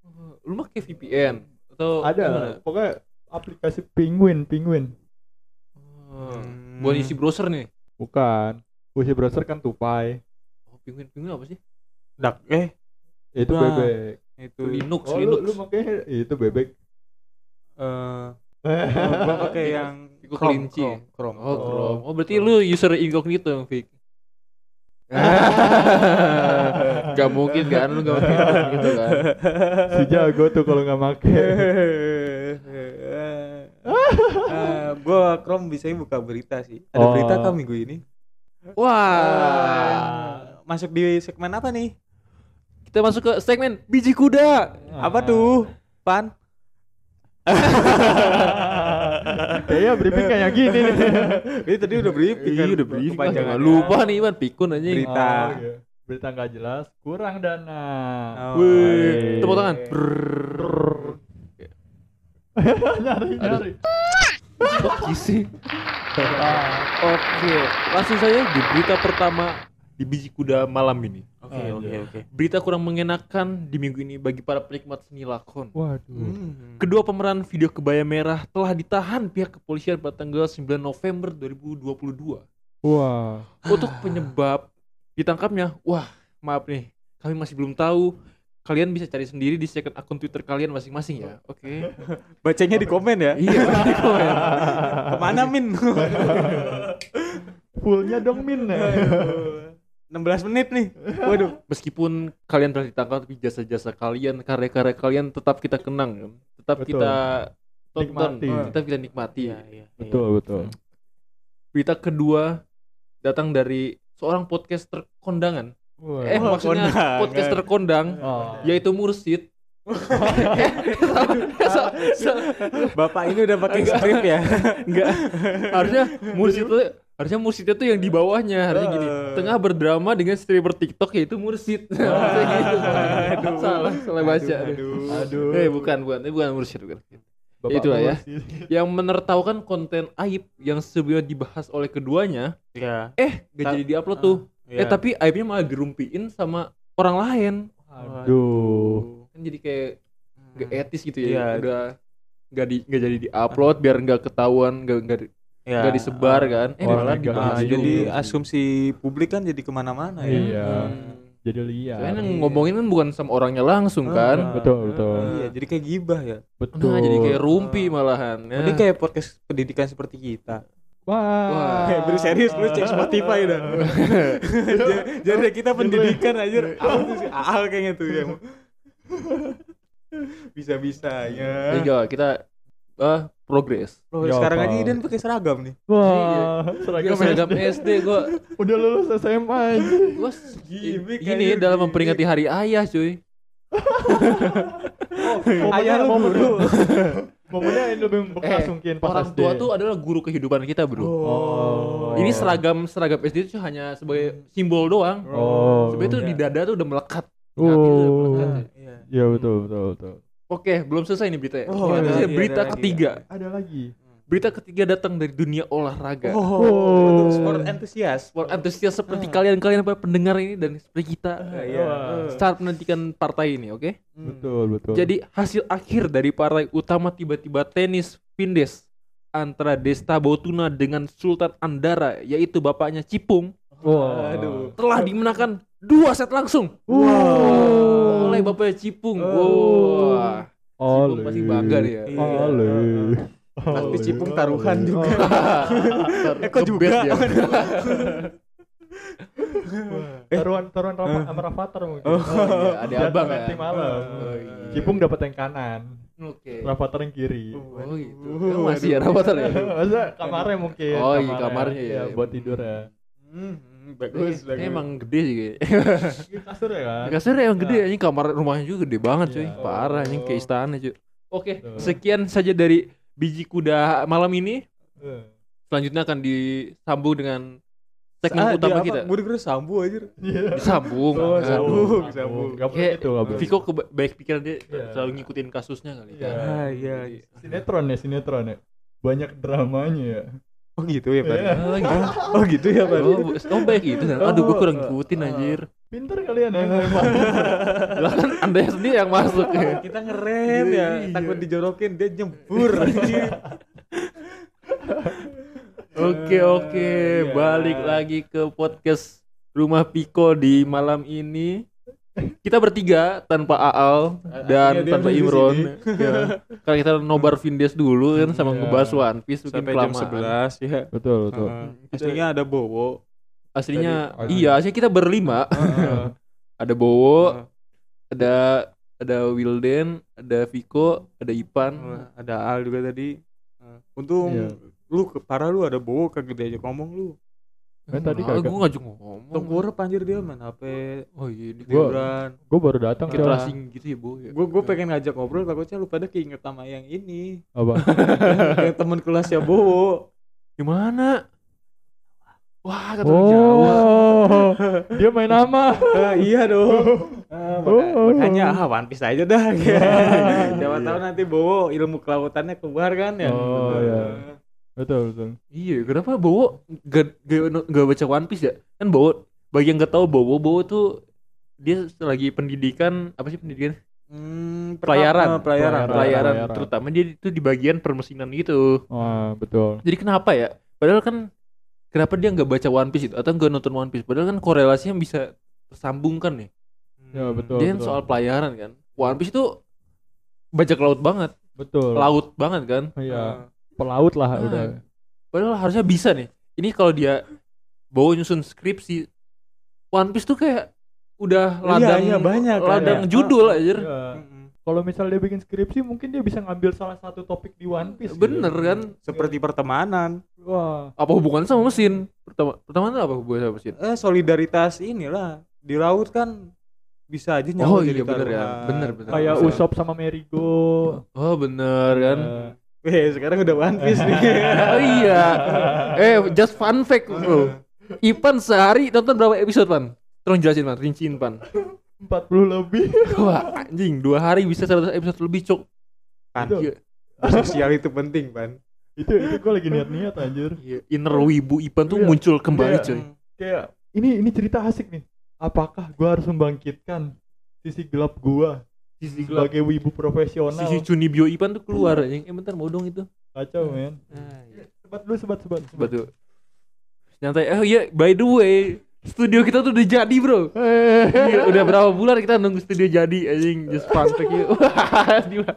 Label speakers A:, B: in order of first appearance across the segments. A: Eh, pakai VPN atau
B: ada
A: gimana? Eh,
B: pokoknya aplikasi penguin penguin
A: Hmm. buat isi browser nih
B: bukan usia browser kan tupai
A: oh, penguin penguin apa sih
C: Dak eh
B: itu
C: Nah,
B: bebek
C: itu
A: Linux
B: oh
A: Linux
B: lu, lu makanya itu bebek
C: eh gua pakai yang
A: Ikut
C: Chrome,
A: kelinci.
C: Chrome, Chrome.
A: oh Chrome oh
B: Oh.
A: berarti lu user incognito yang Vic gak mungkin kan lu gak mungkin gitu kan
B: si jago tuh kalau nggak make
C: gue Chrome bisa buka berita sih. Ada
B: Oh.
C: berita kah minggu ini?
A: Ah. wah
C: Ah, Masuk di segmen apa nih?
A: kita masuk ke segmen biji kuda
B: Ah.
C: Apa tuh? Pan?
B: kayaknya briefing kayak Iya, gini nih
C: Ini tadi udah briefing. kan?
A: Iya, udah briefing. Jangan lupa nih Iwan pikun aja.
C: Berita.
B: Oh, iya. berita nggak jelas kurang dana
C: Oh.
A: Wih,
B: Wih.
A: tepuk tangan.
B: nyari nyari
A: Oke sih. Oke, langsung saja di berita pertama di biji kuda malam ini.
C: Oke, oke, oke.
A: Berita kurang mengenakan di minggu ini bagi para penikmat seni lakon.
B: waduh
C: Hmm.
A: Kedua pemeran video kebaya merah telah ditahan pihak kepolisian pada tanggal 9 November 2022.
B: wah
A: Untuk
C: Ah.
A: penyebab ditangkapnya, wah maaf nih, kami masih belum tahu. Kalian bisa cari sendiri di second akun Twitter kalian masing-masing ya. Oke.
C: Bacanya di komen ya.
A: Iya, di komen.
C: Kemana Min?
B: fullnya dong min
C: Iya. 16 menit nih. Waduh.
A: Meskipun kalian telah ditangkap, tapi jasa-jasa kalian, karya-karya kalian tetap kita kenang, kan? tetap
B: Betul.
A: kita tonton,
B: Nikmati.
A: tetap kita nikmati.
C: iya.
B: betul betul
A: Berita kedua datang dari seorang podcaster kondangan.
B: Wah.
A: Eh, Ya,
C: Wah,
A: maksudnya
C: kondangan.
A: podcaster kondang,
B: Oh.
A: yaitu Mursid. Salah, salah.
C: Bapak ini udah pakai strip ya.
A: Enggak. Harusnya Mursid itu harusnya Mursid itu yang di bawahnya harusnya gini.
C: Eh.
A: Tengah berdrama dengan streamer TikTok yaitu Mursid. Harusnya gitu.
C: Aduh.
A: Salah, salah baca.
C: Aduh.
B: aduh
A: Eh bukan bukan, ini bukan Mursid bukan.
B: Bapak
A: itulah ya.
B: polisi.
A: Yang menertawakan konten aib yang sebelumnya dibahas oleh keduanya,
C: Iya.
A: eh gak
C: Ta-
A: jadi diupload tuh. Eh
C: Iya.
A: tapi aibnya malah dirumpiin sama orang lain.
B: aduh
A: Kan jadi kayak gak etis gitu ya.
C: Iya.
A: Udah gak di gak jadi diupload biar gak ketahuan, gak gak, di-
C: Iya.
A: gak disebar kan. Eh
B: Orang
A: malah
B: yang
C: Ah,
B: Bahaya
C: jadi
A: jadi
C: asumsi publik kan jadi kemana-mana ya.
B: Iya. jadi liar
A: Hmm. Soalnya yang ngomongin kan bukan sama orangnya langsung kan.
C: Ah.
B: betul betul
C: Iya, jadi kayak gibah ya.
B: betul
A: Nah, jadi kayak rumpi malahan. Ya.
C: Ini kayak podcast pendidikan seperti kita.
B: wah
C: Eh, beri serius lu cek Spotify dah. J- jadi kita pendidikan aja. Apa tuh sih? Ahal kayaknya tuh ya. yang bisa-bisanya.
A: Enggak, kita eh progres.
C: Loh,
B: Nggak
C: sekarang
B: apa.
C: aja Idan pakai seragam nih.
B: wah
A: Iya,
B: seragam
A: seragam
B: SD.
A: SD gua
B: udah lulus SMA aja
A: gua
C: Gimik
A: ini
C: aja,
A: dalam
C: gimik.
A: memperingati hari ayah, cuy.
B: Momennya-
C: Ayah lu
B: momen-
C: guru.
B: momennya yang lebih membekas mungkin pas
A: Eh, Orang
B: SD.
A: tua tuh adalah guru kehidupan kita, Bro.
B: Oh.
A: Ini seragam seragam SD itu hanya sebagai simbol doang.
B: Oh.
A: Sebenarnya itu di dada tuh udah melekat. Di hati tuh udah
B: Oh.
A: melekat, cuy.
C: Iya.
B: Iya betul betul betul.
A: Oke, belum selesai nih beritanya.
C: Oh,
A: Kita
B: iya,
A: selesai
C: iya,
A: berita
C: iya, iya.
A: ketiga.
B: Ada lagi.
A: Berita ketiga datang dari dunia olahraga.
C: Oh, Hmm.
B: Oh.
C: untuk sport antusias.
A: Sport antusias seperti kalian-kalian para pendengar ini dan seperti kita
C: Iya. Hmm.
B: Wah.
A: saat menantikan partai ini, oke?
B: Betul betul.
A: Jadi hasil akhir dari partai utama tiba-tiba tenis Vindes antara Desta Botuna dengan Sultan Andara yaitu bapaknya Cipung
B: wah.
C: Aduh.
A: telah dimenangkan dua set langsung
B: Wow.
A: oleh bapaknya Cipung.
C: Oh.
A: Wah,
B: Oleh.
A: Cipung pasti bangga ya. Iya. dia.
C: Iya.
B: Oleh.
C: Pasti
B: Oleh.
C: Cipung taruhan
A: Iya.
C: juga. Eh, kok
A: Ngebet
C: juga?
A: dia.
B: Taruhan taruhan Rafa- sama Rafathar mungkin.
C: Oh,
A: Hmm. iya, ada
B: Jadwal
A: abang
B: nanti
A: ya.
B: malam.
A: Oh, iya.
B: Cipung dapat yang kanan,
A: Oke.
B: Rafathar yang kiri.
C: Uh.
A: Oh gitu. Ya, masih ya Rafathar ya.
B: Masa kamarnya mungkin.
A: Oh, iya, kamarnya ya.
B: Iya, buat tidur ya.
C: Hmm, bagus,
A: Ini
C: bagus. Iya.
A: Emang gede sih kayaknya.
B: kasur ya kan?
A: Kasarnya emang gede anjing kamar rumahnya juga gede banget cuy.
B: Iya.
A: Parah anjing kayak istana cuy. Oke,
B: Tuh.
A: sekian saja dari biji kuda malam ini.
B: Eh.
A: Selanjutnya akan disambung dengan segmen
C: Ah, dia
A: utama
C: apa?
A: kita.
C: Gue denger sambu aja.
B: Iya.
A: Disambung.
C: Oh,
A: Aduh.
C: sambung,
B: Aduh,
C: sambung.
B: Gak boleh
A: Kayak
B: gitu, gak boleh.
A: Viko keba- baik pikiran dia
B: Iya.
A: selalu ngikutin kasusnya kali.
B: Iya.
C: Ah, iya.
B: Sinetron ya, sinetron ya. Banyak dramanya ya.
C: Oh gitu ya, Pak.
B: Iya.
A: Oh, gitu.
C: Oh gitu ya, Pak.
A: Oh, bu- oh, baik gitu. Aduh, gue kurang ngikutin
C: Oh.
A: anjir.
B: Pinter kalian ya ngelempar.
A: Lah kan Anda sendiri yang masuk ya.
C: kita ngerem
B: Iya,
C: ya
B: iya.
C: takut dijorokin dia nyembur anjir.
A: Oke oke,
B: Iya.
A: balik lagi ke podcast Rumah Piko di malam ini. Kita bertiga tanpa Aal dan
B: Akhirnya iya, dia
A: tanpa
B: ada di
A: Imron. Ya. Karena kita nobar Vindes dulu kan sama
B: Iya.
A: ngebahas One Piece bikin
C: sampai jam
A: kelamaan.
C: 11 ya
B: Betul, betul.
C: Heeh. pastinya ada bowo
A: Aslinya
B: Dari-
A: iya, aslinya kita berlima. Ada Bowo, ada ada Wilden, ada Viko, ada Ipan.
C: Heeh. ada al juga tadi Heeh. untung
B: Iya.
C: lu ke parah lu ada bowo kagak diajak ngomong lu
B: Eh, tadi
A: Nah,
B: kagak.
A: gua ngajak ngomong.
C: tenggorok panjir dia main hp
A: Oh iya, di
B: Gua-
C: tiduran
B: Gue baru datang
A: kita
B: soalnya.
A: asing gitu ya, Bo. ya.
C: gue gue pengen ngajak ngobrol takutnya lu pada keinget sama yang ini
B: Apa?
C: yang teman kelasnya bowo
A: Gimana? Wah, kata orang Jawa. Oh,
B: Oh, dia main nama.
C: Ah, iya dong Ah, maka-
B: Oh. iya.
C: makanya ah, one piece aja dah siapa tahu nanti bowo ilmu kelautannya keluar kan ya
B: Oh, iya. Betul, betul.
A: Iya, kenapa Bowo gak, gak, gak baca One Piece ya? Kan Bowo, bagi yang gak tahu Bowo, Bowo tuh dia lagi pendidikan apa sih pendidikan pelayaran
C: Hmm, pertama- eh, pelayaran
B: Pelayaran.
A: pelayaran
B: Pelayaran.
A: terutama dia itu di bagian permesinan gitu
B: Wah, betul.
A: jadi kenapa ya padahal kan kenapa dia nggak baca One Piece itu atau nggak nonton One Piece padahal kan korelasinya bisa tersambungkan nih
B: Ya,
C: Hmm.
B: betul.
A: dia kan soal pelayaran kan One Piece itu bajak laut banget
B: Betul.
A: laut banget kan
B: Iya, pelaut lah
A: Ah.
B: udah.
A: padahal harusnya bisa nih ini kalau dia bawa nyusun skripsi One Piece tuh kayak udah
C: Iya,
A: ladang
C: iya, banyak kan,
A: ladang
C: ya.
A: judul
C: Ah,
A: aja
B: Iya.
C: Ah. Mm-mm.
B: Kalau misal dia bikin skripsi mungkin dia bisa ngambil salah satu topik di One Piece. gitu.
A: bener kan
C: seperti pertemanan
B: Wah,
A: apa hubungannya sama mesin pertama pertama itu apa hubungannya sama mesin
C: eh solidaritas inilah di laut kan bisa aja
A: Oh,
C: nyawa
A: iya,
C: jadi
A: bener ya.
C: taruhan.
A: Bener, bener.
B: kayak
A: Bisa.
B: Usop sama Merigo.
A: oh bener kan
B: Eh,
C: Weh, sekarang udah one piece nih
A: oh iya eh just fun fact bro Ipan sehari nonton berapa episode pan tolong jelasin pan rinciin pan
B: 40 lebih. gitu.
A: wah anjing dua hari bisa 100 episode lebih cok
C: Pan,
B: Itu.
A: Iya,
C: sosial itu penting pan
B: itu itu gue lagi niat-niat anjir.
A: iya. inner wibu Ipan tuh
B: Iya.
A: muncul kembali
B: Iya.
C: Hmm.
A: coy
B: Kayak ini ini cerita asik nih. Apakah gua harus membangkitkan sisi gelap gua
A: sisi gelap
B: sebagai wibu profesional?
A: sisi Junibio Ipan tuh keluar anjing eh bentar mau dong itu
B: Kacau, men. Sebat dulu, sebat, sebat. sebat.
A: betul nyantai oh iya by the way studio kita tuh udah jadi bro
B: Eh.
A: Iya, udah berapa bulan kita nunggu studio jadi anjing just fun fact yuk. Wah, gila.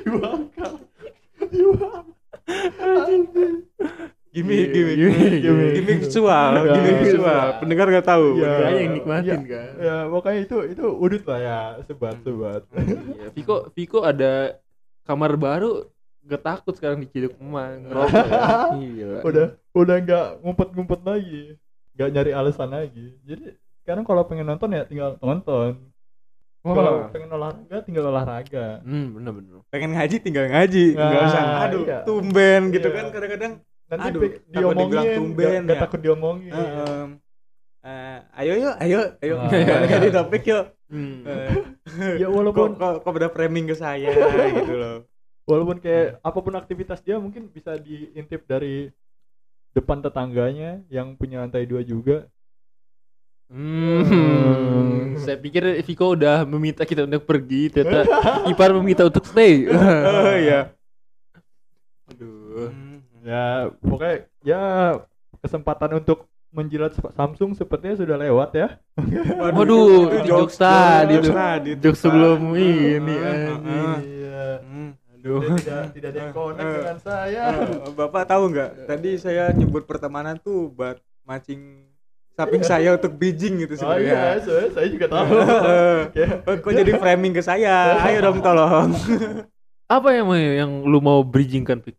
B: Dibakar. Dibakar.
C: gimmick
A: Iya,
C: gimmick
A: gimmick,
C: gimmick
B: gimmick.
C: gimmick visual
B: Iya,
C: gimmick
B: iya.
C: visual pendengar nggak tahu
B: Iya.
A: Dia
C: pendengar.
A: aja yang nikmatin kan
B: Ya, pokoknya itu itu udut lah ya, sebat, sebat.
A: Iya, Viko Viko ada kamar baru gak takut sekarang diciduk emang ngerokok kan. Gila.
B: udah
C: Iya.
B: udah nggak ngumpet-ngumpet lagi nggak nyari alasan lagi jadi sekarang kalau pengen nonton ya tinggal nonton
A: Wah.
B: kalau pengen olahraga tinggal olahraga
A: hmm bener bener
C: pengen ngaji tinggal ngaji nggak
B: Nah,
C: usah aduh
B: iya.
C: tumben gitu
B: Iya.
C: kan kadang-kadang
B: nanti
C: Aduh,
B: pe-
C: takut dibilang
B: diomongin
C: tumben
B: nggak
C: ya.
B: takut diomongin
C: eh, em, eh, ayo yuk ayo ayo
B: Ah.
C: balik lagi topik yuk
A: Hmm.
C: Eh,
B: ya
C: kok
B: walaupun
C: kok kok udah framing ke saya gitu loh
B: walaupun kayak apapun aktivitas dia mungkin bisa diintip dari depan tetangganya yang punya lantai dua juga
A: Hmm, saya pikir Viko udah meminta kita untuk pergi, ternyata Ipar meminta untuk stay.
C: oh iya
A: Aduh.
B: ya pokoknya ya kesempatan untuk menjilat Samsung sepertinya sudah lewat ya
A: Waduh,
C: itu
A: itu jokes tadi
C: jokes
A: tuh.
C: tadi itu,
A: Jokes
C: Pak.
A: sebelum ini,
C: Heeh,
A: anjing.
C: heeh.
B: iya
C: Hmm.
A: Aduh.
B: Dia tidak tidak ada yang connect dengan saya
C: Eh, Bapak tahu nggak? Tadi saya nyebut pertemanan tuh buat mancing samping saya untuk bridging gitu
B: Oh iya,
C: sebenarnya.
B: saya, saya juga tahu.
C: Eh,
B: Ya.
C: eh, Kok jadi framing ke saya? Ayo dong tolong.
A: Apa yang yang lu mau bridging kan, Pik?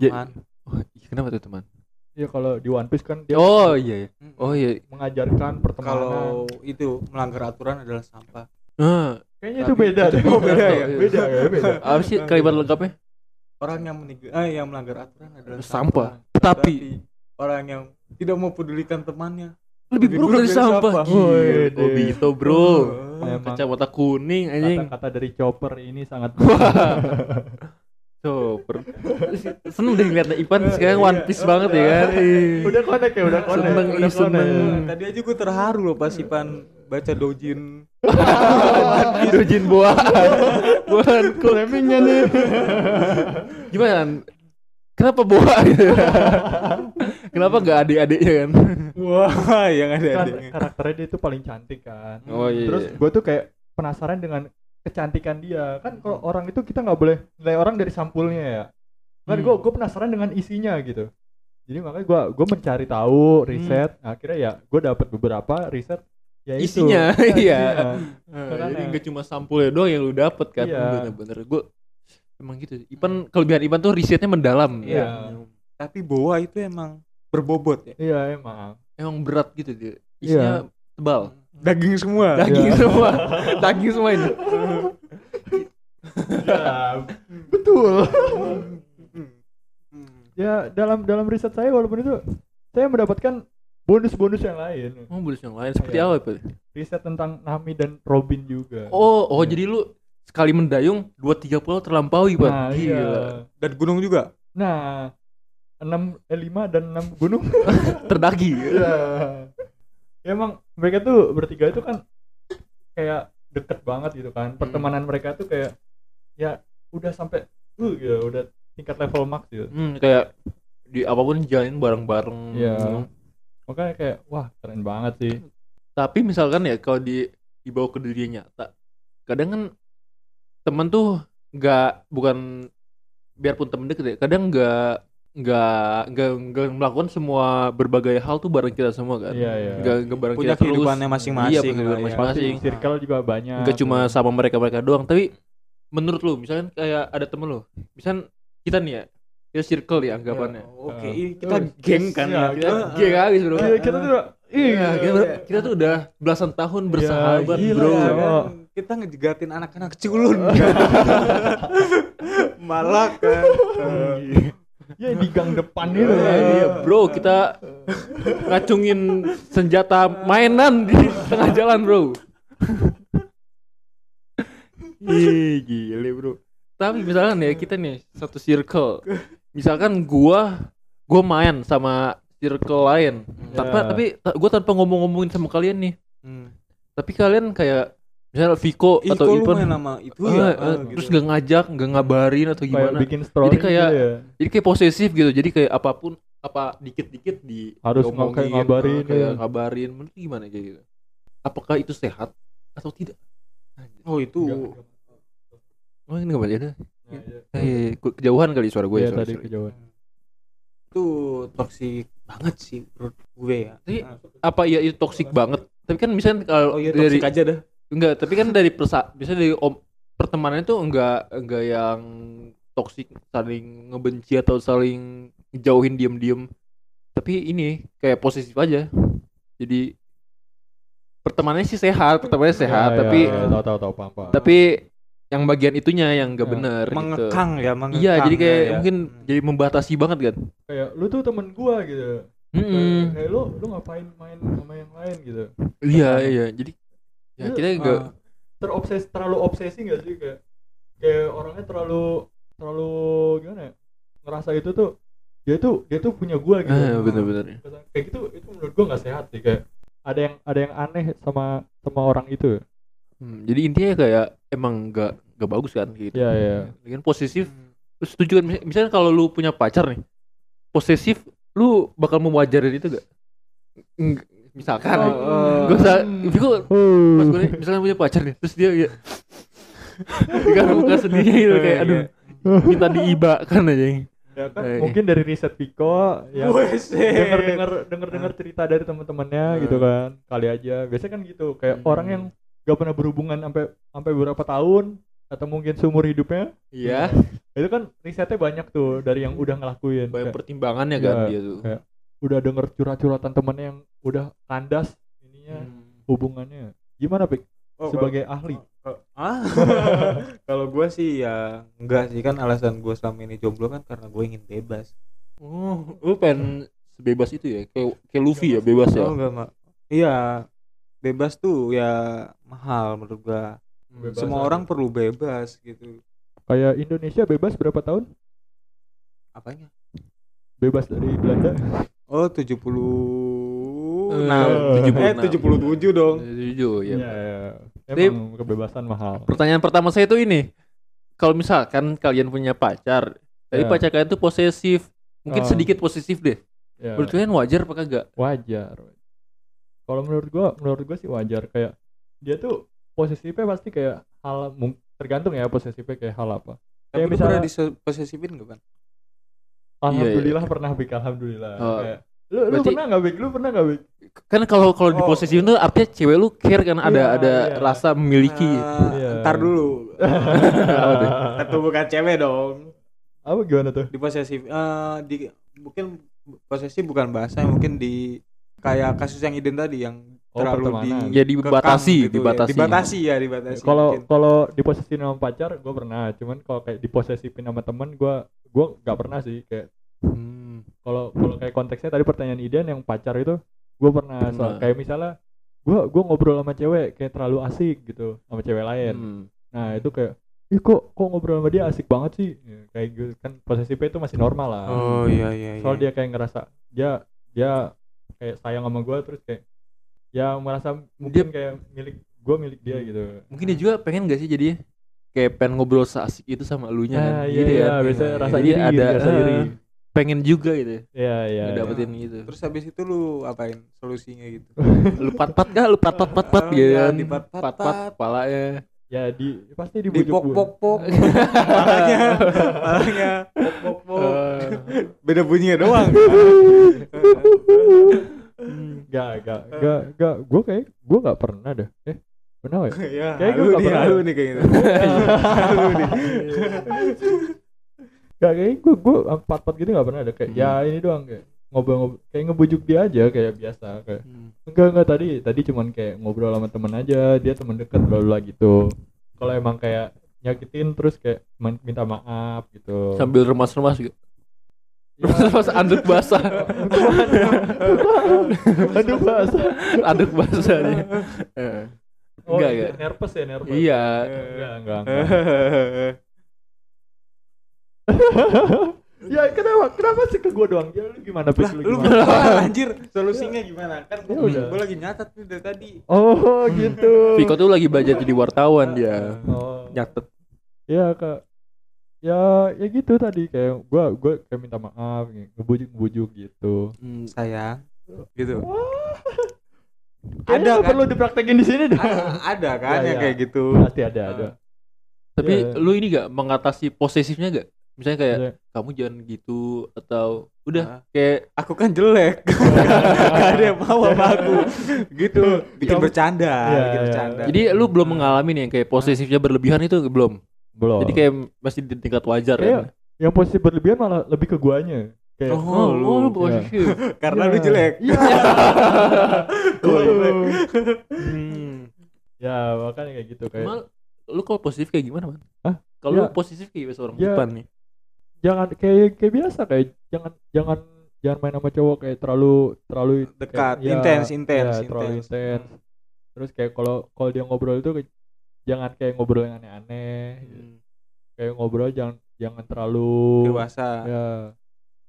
C: Teman.
A: Wah, ih, kenapa tuh teman?
B: Ya kalau di One Piece kan dia
A: Oh iya, iya. oh iya.
B: mengajarkan pertemanan.
C: Kalau itu melanggar aturan adalah sampah.
A: Ah,
B: Kayaknya itu beda deh.
C: Oh, beda ya?
B: Beda ya, beda.
A: apa sih kalimat lengkapnya?
C: Orang yang menig- eh, yang melanggar aturan adalah
A: Sampah.
C: sampah.
A: Tapi
C: orang yang tidak mau pedulikan temannya.
A: lebih buruk dari sampah.
B: Wih,
A: Gila, Obito, Iya, bro. Iya.
C: Eh,
B: Emang
A: Kacamata kuning anjing.
B: kata-kata dari Chopper ini sangat
A: Super. Seneng deh ngeliatnya Ipan sekarang One Piece banget ya kan. Ih.
B: udah connect ya, udah connect.
A: Seneng,
B: udah
C: Nah,
A: ih, seneng.
B: connect.
C: Tadi aja gue terharu loh pas Ipan baca dojin
A: Dojin boa. Boan cool.
D: Framingnya nih.
A: Gimana? Nan? Kenapa boa gitu? Kenapa nggak adik-adiknya kan?
C: wah yang ada
B: kan
C: adiknya
B: karakternya dia tuh paling cantik kan
A: Oh iya.
B: terus gue tuh kayak penasaran dengan kecantikan dia kan
A: Hmm.
B: kalau orang itu kita nggak boleh nilai orang dari sampulnya ya kan
C: Hmm.
B: gue gue penasaran dengan isinya gitu jadi makanya gue gue mencari
A: Hmm.
B: tahu riset akhirnya ya gue dapet beberapa riset ya itu.
A: Isinya,
B: Ya,
A: iya.
B: isinya.
A: jadi nggak cuma sampulnya doang yang lu dapet kan?
B: Iya.
A: Bener-bener. Gue emang gitu. Ipan kelebihan Ipan tuh risetnya mendalam.
B: Iya.
C: tapi boa itu emang berbobot ya
B: iya emang
A: Emang berat gitu dia.
B: Iya.
A: Isinya tebal.
C: daging semua
A: Daging semua. Daging semua ini.
C: Hmm.
B: Ya, betul
C: Hmm.
B: ya dalam dalam riset saya walaupun itu saya mendapatkan bonus-bonus yang lain
A: Oh, bonus yang lain seperti
B: Iya.
A: apa Pak?
B: riset tentang Nami dan Robin juga
A: Oh,
B: Iya.
A: oh jadi lu sekali mendayung 2 30 terlampaui, Pak.
B: nah,
A: Gila.
B: iya.
C: dan gunung juga
B: Nah, 6 eh, 5 dan 6 gunung.
A: Terdagi.
B: ya. Emang mereka tuh bertiga itu kan kayak deket banget gitu
A: Hmm.
B: kan. Pertemanan mereka tuh kayak ya udah sampai uh gitu, udah tingkat level max gitu.
A: Hmm, kayak di apapun jalanin bareng-bareng.
B: Iya. Makanya kayak wah keren banget sih.
A: Tapi misalkan ya kalau di dibawa ke dunia nyata, kadang kan temen tuh nggak bukan biarpun temen deket ya, kadang nggak nggak nggak nggak melakukan semua berbagai hal tuh bareng kita semua kan.
B: Iya, iya.
A: Nggak nggak bareng
C: punya
A: kita terus.
C: kehidupannya masing-masing
A: Iya, punya kehidupan
C: lah ya.
B: Pasti
A: masing-masing.
B: circle juga banyak.
A: nggak cuma sama mereka mereka doang tapi menurut lu misalkan kayak ada temen lu misalkan kita nih ya kita circle ya anggapannya
C: oke
B: Ah.
C: ini kita
B: Terus.
C: geng kan
B: Iya,
C: ya
A: kita
C: Ah, ah.
A: geng abis bro
B: Iya, kita tuh
A: Iya, kita, kita tuh udah belasan tahun bersahabat
B: gila,
A: bro
C: Iya,
B: Bro.
C: kan? kita ngejegatin anak-anak culun kan. malah kan
B: ya di gang depan gitu. itu.
A: Iya, iya, bro kita ngacungin senjata mainan di tengah jalan bro Ih gile bro Tapi misalkan ya kita nih satu circle Misalkan gua gua main sama circle lain tanpa
B: Ya.
A: tapi ta- gua tanpa ngomong-ngomongin sama kalian nih
C: Hmm.
A: tapi kalian kayak misalnya Viko
C: Ih,
A: atau
C: kok lu main
A: Ipan
C: nama itu
A: eh,
C: ya
A: eh, terus gak ngajak gak ngabarin atau
B: Kayak
A: gimana
B: bikin story
A: Jadi kayak-
B: gitu ya.
A: jadi kayak posesif gitu jadi kayak apapun apa dikit-dikit di
B: Harus
A: diomongin,
B: kayak ngabarin,
A: eh, kayak
B: ya.
A: ngabarin menurut lu gimana kayak gitu apakah itu sehat atau tidak
C: oh itu
A: oh ini nggak boleh ada
B: Nah, iya.
A: Eh, iya, iya, ke- kejauhan kali suara gue ya,
B: Iya,
A: sorry,
B: tadi
A: sorry.
B: kejauhan.
C: itu toksik banget sih menurut gue ya
A: Tapi,
C: Ah.
A: apa ya itu toksik banget tapi kan misalnya kalau
C: oh iya
A: dari
C: toksik aja dah
A: Enggak, tapi kan dari persa bisa dari om, pertemanan itu enggak enggak yang toksik saling ngebenci atau saling jauhin diem-diem. Tapi ini kayak posesif aja. Jadi pertemanannya sih sehat, pertemanannya sehat,
B: Ya,
A: tapi
B: ya, ya, tahu tahu tahu paham paham.
A: tapi yang bagian itunya yang enggak
B: Ya,
A: bener gitu.
C: mengekang ya mengekang
A: Iya, jadi kayak
C: ya, ya.
A: mungkin
C: Hmm.
A: jadi membatasi banget kan.
B: kayak lu tuh temen gua gitu
A: Mm-mm.
B: kayak "Eh, lu lu ngapain main sama yang lain gitu
A: Iya, iya. Jadi ya
B: Lu-
A: kita enggak
C: Ah.
B: terobses terlalu obsesi gak sih kayak kayak orangnya terlalu terlalu gimana ya ngerasa itu tuh dia tuh dia tuh punya gua gitu
A: ah, bener-bener.
B: kayak gitu itu menurut gua nggak sehat sih kayak ada yang ada yang aneh sama sama orang itu
A: Hmm, jadi intinya kayak emang enggak enggak bagus kan gitu.
B: ya ya
A: Lagian posesif
C: Hmm.
A: Lu setuju kan Mis- misalnya kalau lu punya pacar nih posesif lu bakal mewajarin itu gak Eng- misalkan
B: Oh,
A: nih
B: eh.
A: gue usah
B: Hmm.
A: Vigo, pas gue nih, misalnya punya pacar nih terus dia ya dengan muka sedihnya gitu kayak aduh minta diibakan aja yang
B: ya kan
A: Eh.
B: mungkin dari riset Piko ya denger
C: denger
B: denger denger denger cerita dari teman-temannya gitu kan kali aja biasanya kan gitu kayak
C: Hmm.
B: orang yang gak pernah berhubungan sampai sampai berapa tahun atau mungkin seumur hidupnya
A: iya
B: itu kan risetnya banyak tuh dari yang udah ngelakuin
A: banyak
B: Kayak
A: pertimbangannya kan
B: Iya.
A: dia tuh
B: udah denger curhat-curhatan temennya yang udah kandas ininya
C: Hmm.
B: hubungannya gimana pik
C: Oh,
B: sebagai ahli
C: ah kalau gue sih ya enggak sih kan alasan gue selama ini jomblo kan karena gue ingin bebas
A: oh lu pengen sebebas itu ya kayak kayak Luffy ya bebas ya
C: oh enggak mak iya bebas tuh ya mahal menurut gue
B: Bebas aja.
C: semua orang perlu bebas gitu
B: kayak Indonesia bebas berapa tahun
C: apanya
B: bebas dari Belanda
C: oh 70 nah
B: Eh,
C: 76. eh 77 dong
A: Jujur ya.
B: Iya, iya.
A: Jadi-
B: Emang kebebasan mahal.
A: Pertanyaan pertama saya itu ini. Kalau misalkan kalian punya pacar, tapi
B: Ya.
A: pacar kalian tuh posesif, mungkin
B: Oh.
A: sedikit posesif deh.
B: Ya,
A: Menurut kalian wajar apa kagak?
B: wajar. Kalau menurut gua, menurut gua sih wajar kayak dia tuh posesifnya pasti kayak hal mung- tergantung ya posesifnya kayak hal apa.
A: Iya,
C: tapi
B: Kayak
C: lu pernah
B: misalnya-
C: diposesifin gak Pan?
B: Alhamdulillah pernah Bik, alhamdulillah.
A: iya, Oh.
B: Kayak, lu, lu
A: Berarti-
B: pernah nggak Bik? Lu pernah nggak Bik?
A: Kan kalau kalau
C: Oh.
A: diposesifin tuh artinya cewek lu care kan ada
B: Iya,
A: ada
B: iya.
A: rasa memiliki.
C: Ah,
B: Iya.
C: ntar dulu Ah.
A: Iya.
C: itu bukan cewek dong
B: apa gimana tuh?
C: diposesif eh di mungkin posesif bukan bahasa mungkin di kayak kasus yang iden tadi yang
B: Oh,
C: terlalu di
B: pertemanan.
A: Ya, dibatasi,
C: kekang gitu
A: dibatasi.
C: ya. dibatasi ya dibatasi
B: Kalau
C: mungkin.
B: kalau diposesifin sama pacar gua pernah, cuman kalau kayak diposesifin sama temen gua gua nggak pernah sih kayak
A: Hmm.
B: kalau kalau kayak konteksnya tadi pertanyaan Idan yang pacar itu gue pernah soal-
A: Pernah.
B: kayak misalnya gue gua ngobrol sama cewek kayak terlalu asik gitu sama cewek lain
A: Hmm.
B: nah itu kayak ih kok kok ngobrol sama dia asik banget sih Ya, kayak gitu kan posesifnya itu masih normal lah
C: oh iya iya iya
B: soal dia kayak ngerasa dia dia kayak sayang sama gue terus kayak ya merasa mungkin kayak milik gue milik dia gitu
A: Mungkin dia juga pengen gak sih jadinya kayak pengen ngobrol seasik itu sama elunya kan.
B: nah, iya
A: Gitu
B: iya
A: kan.
B: biasanya rasa
A: Jadi
B: iri
A: ada,
B: rasa iri
A: eh, Pengen juga gitu.
B: iya iya iya.
A: Ngedapetin gitu.
C: terus habis itu lu apain solusinya gitu
A: lu pat-pat gak? Lu pat-pat pat-pat
C: Oh,
A: gitu
C: iya,
A: kan.
C: dipat-pat-pat.
A: Pat-pat kepalanya.
B: ya di pasti
C: di
B: dibujuk
C: pok
B: gua.
C: pok pok palanya palanya pok pok pok
B: Eh.
C: beda bunyinya doang
B: Gak, gak, gak, gak. Gue kayak gue gak pernah dah. Eh, pernah gak ya?
C: ya
B: Kayak gua
C: halu
B: nggak
C: nih
B: pernah.
C: halu nih kayak gitu
A: Eh,
C: halu nih
B: Gak kayak gue gue empat empat gitu gak pernah ada kayak.
A: Hmm.
B: Ya ini doang kayak ngobrol-ngobrol kayak ngebujuk dia aja kayak biasa kayak
C: Hmm.
B: enggak enggak tadi tadi cuman kayak ngobrol sama temen aja dia temen deket bla bla gitu kalau emang kayak nyakitin terus kayak men- minta maaf gitu
A: Sambil remas-remas gitu.
B: Ya,
A: Remas-remas anduk basah.
B: aduh bahasa
A: anduk basah dia. Eh,
B: oh,
A: Enggak, enggak.
B: nervous ya nervous
A: Iya.
B: enggak enggak, enggak. ya kenapa kenapa sih ke gue doang ya lu gimana Pik?
C: lah lu
B: gimana?
C: berapa anjir solusinya gimana kan
B: Ya
C: gua,
B: udah.
C: gua lagi nyatet nih dari tadi
B: oh gitu
A: Viko tuh lagi belajar jadi wartawan dia.
B: oh.
A: Nyatet.
B: ya kak ya ya gitu tadi kayak gue gue kayak minta maaf ngebujuk ngebujuk gitu
C: Hmm, sayang gitu
B: Wah.
C: Ada,
B: Kayaknya
C: kan?
B: perlu dipraktekin di sini Ah, dah
C: A- ada kan
B: Ya,
C: yang
B: ya.
C: kayak gitu
B: pasti ada ada
A: Tapi
B: Iya.
A: lu ini gak mengatasi posesifnya gak? Misalnya kayak
B: Iya.
A: kamu jangan gitu atau udah
C: Ah.
A: kayak
C: aku kan jelek gak ada yang mau sama aku gitu bikin
B: Kamu-
C: bercanda
B: Ya,
C: bikin
B: ya.
C: bercanda
A: jadi lu belum mengalami nih yang kayak posesifnya berlebihan itu belum.
B: belum
A: Jadi kayak masih di tingkat wajar
B: Oh. Iya.
A: kan.
B: yang posisi berlebihan malah lebih ke guanya kayak
C: Oh,
A: Oh,
C: lu.
A: oh, lu posesif.
B: Iya.
C: karena lu jelek
B: Iya.
C: Gua
B: Gitu.
C: jelek.
A: Hmm.
B: ya makanya kayak gitu kayak
A: Mal, lu kalau positif kayak gimana, Man?
B: Hah?
A: Kalau
B: Ya.
A: lu positif kayak seorang
B: Ya.
A: depan nih.
B: jangan kayak kayak biasa kayak jangan jangan jangan main sama cowok kayak terlalu terlalu
C: dekat
B: kayak- ya,
C: intens intens
B: ya, terlalu
C: intens
B: intens. terus kayak kalau kalau dia ngobrol itu kayak- jangan kayak ngobrol yang aneh-aneh
C: Hmm.
B: gitu. kayak ngobrol jangan jangan terlalu
C: dewasa
B: ya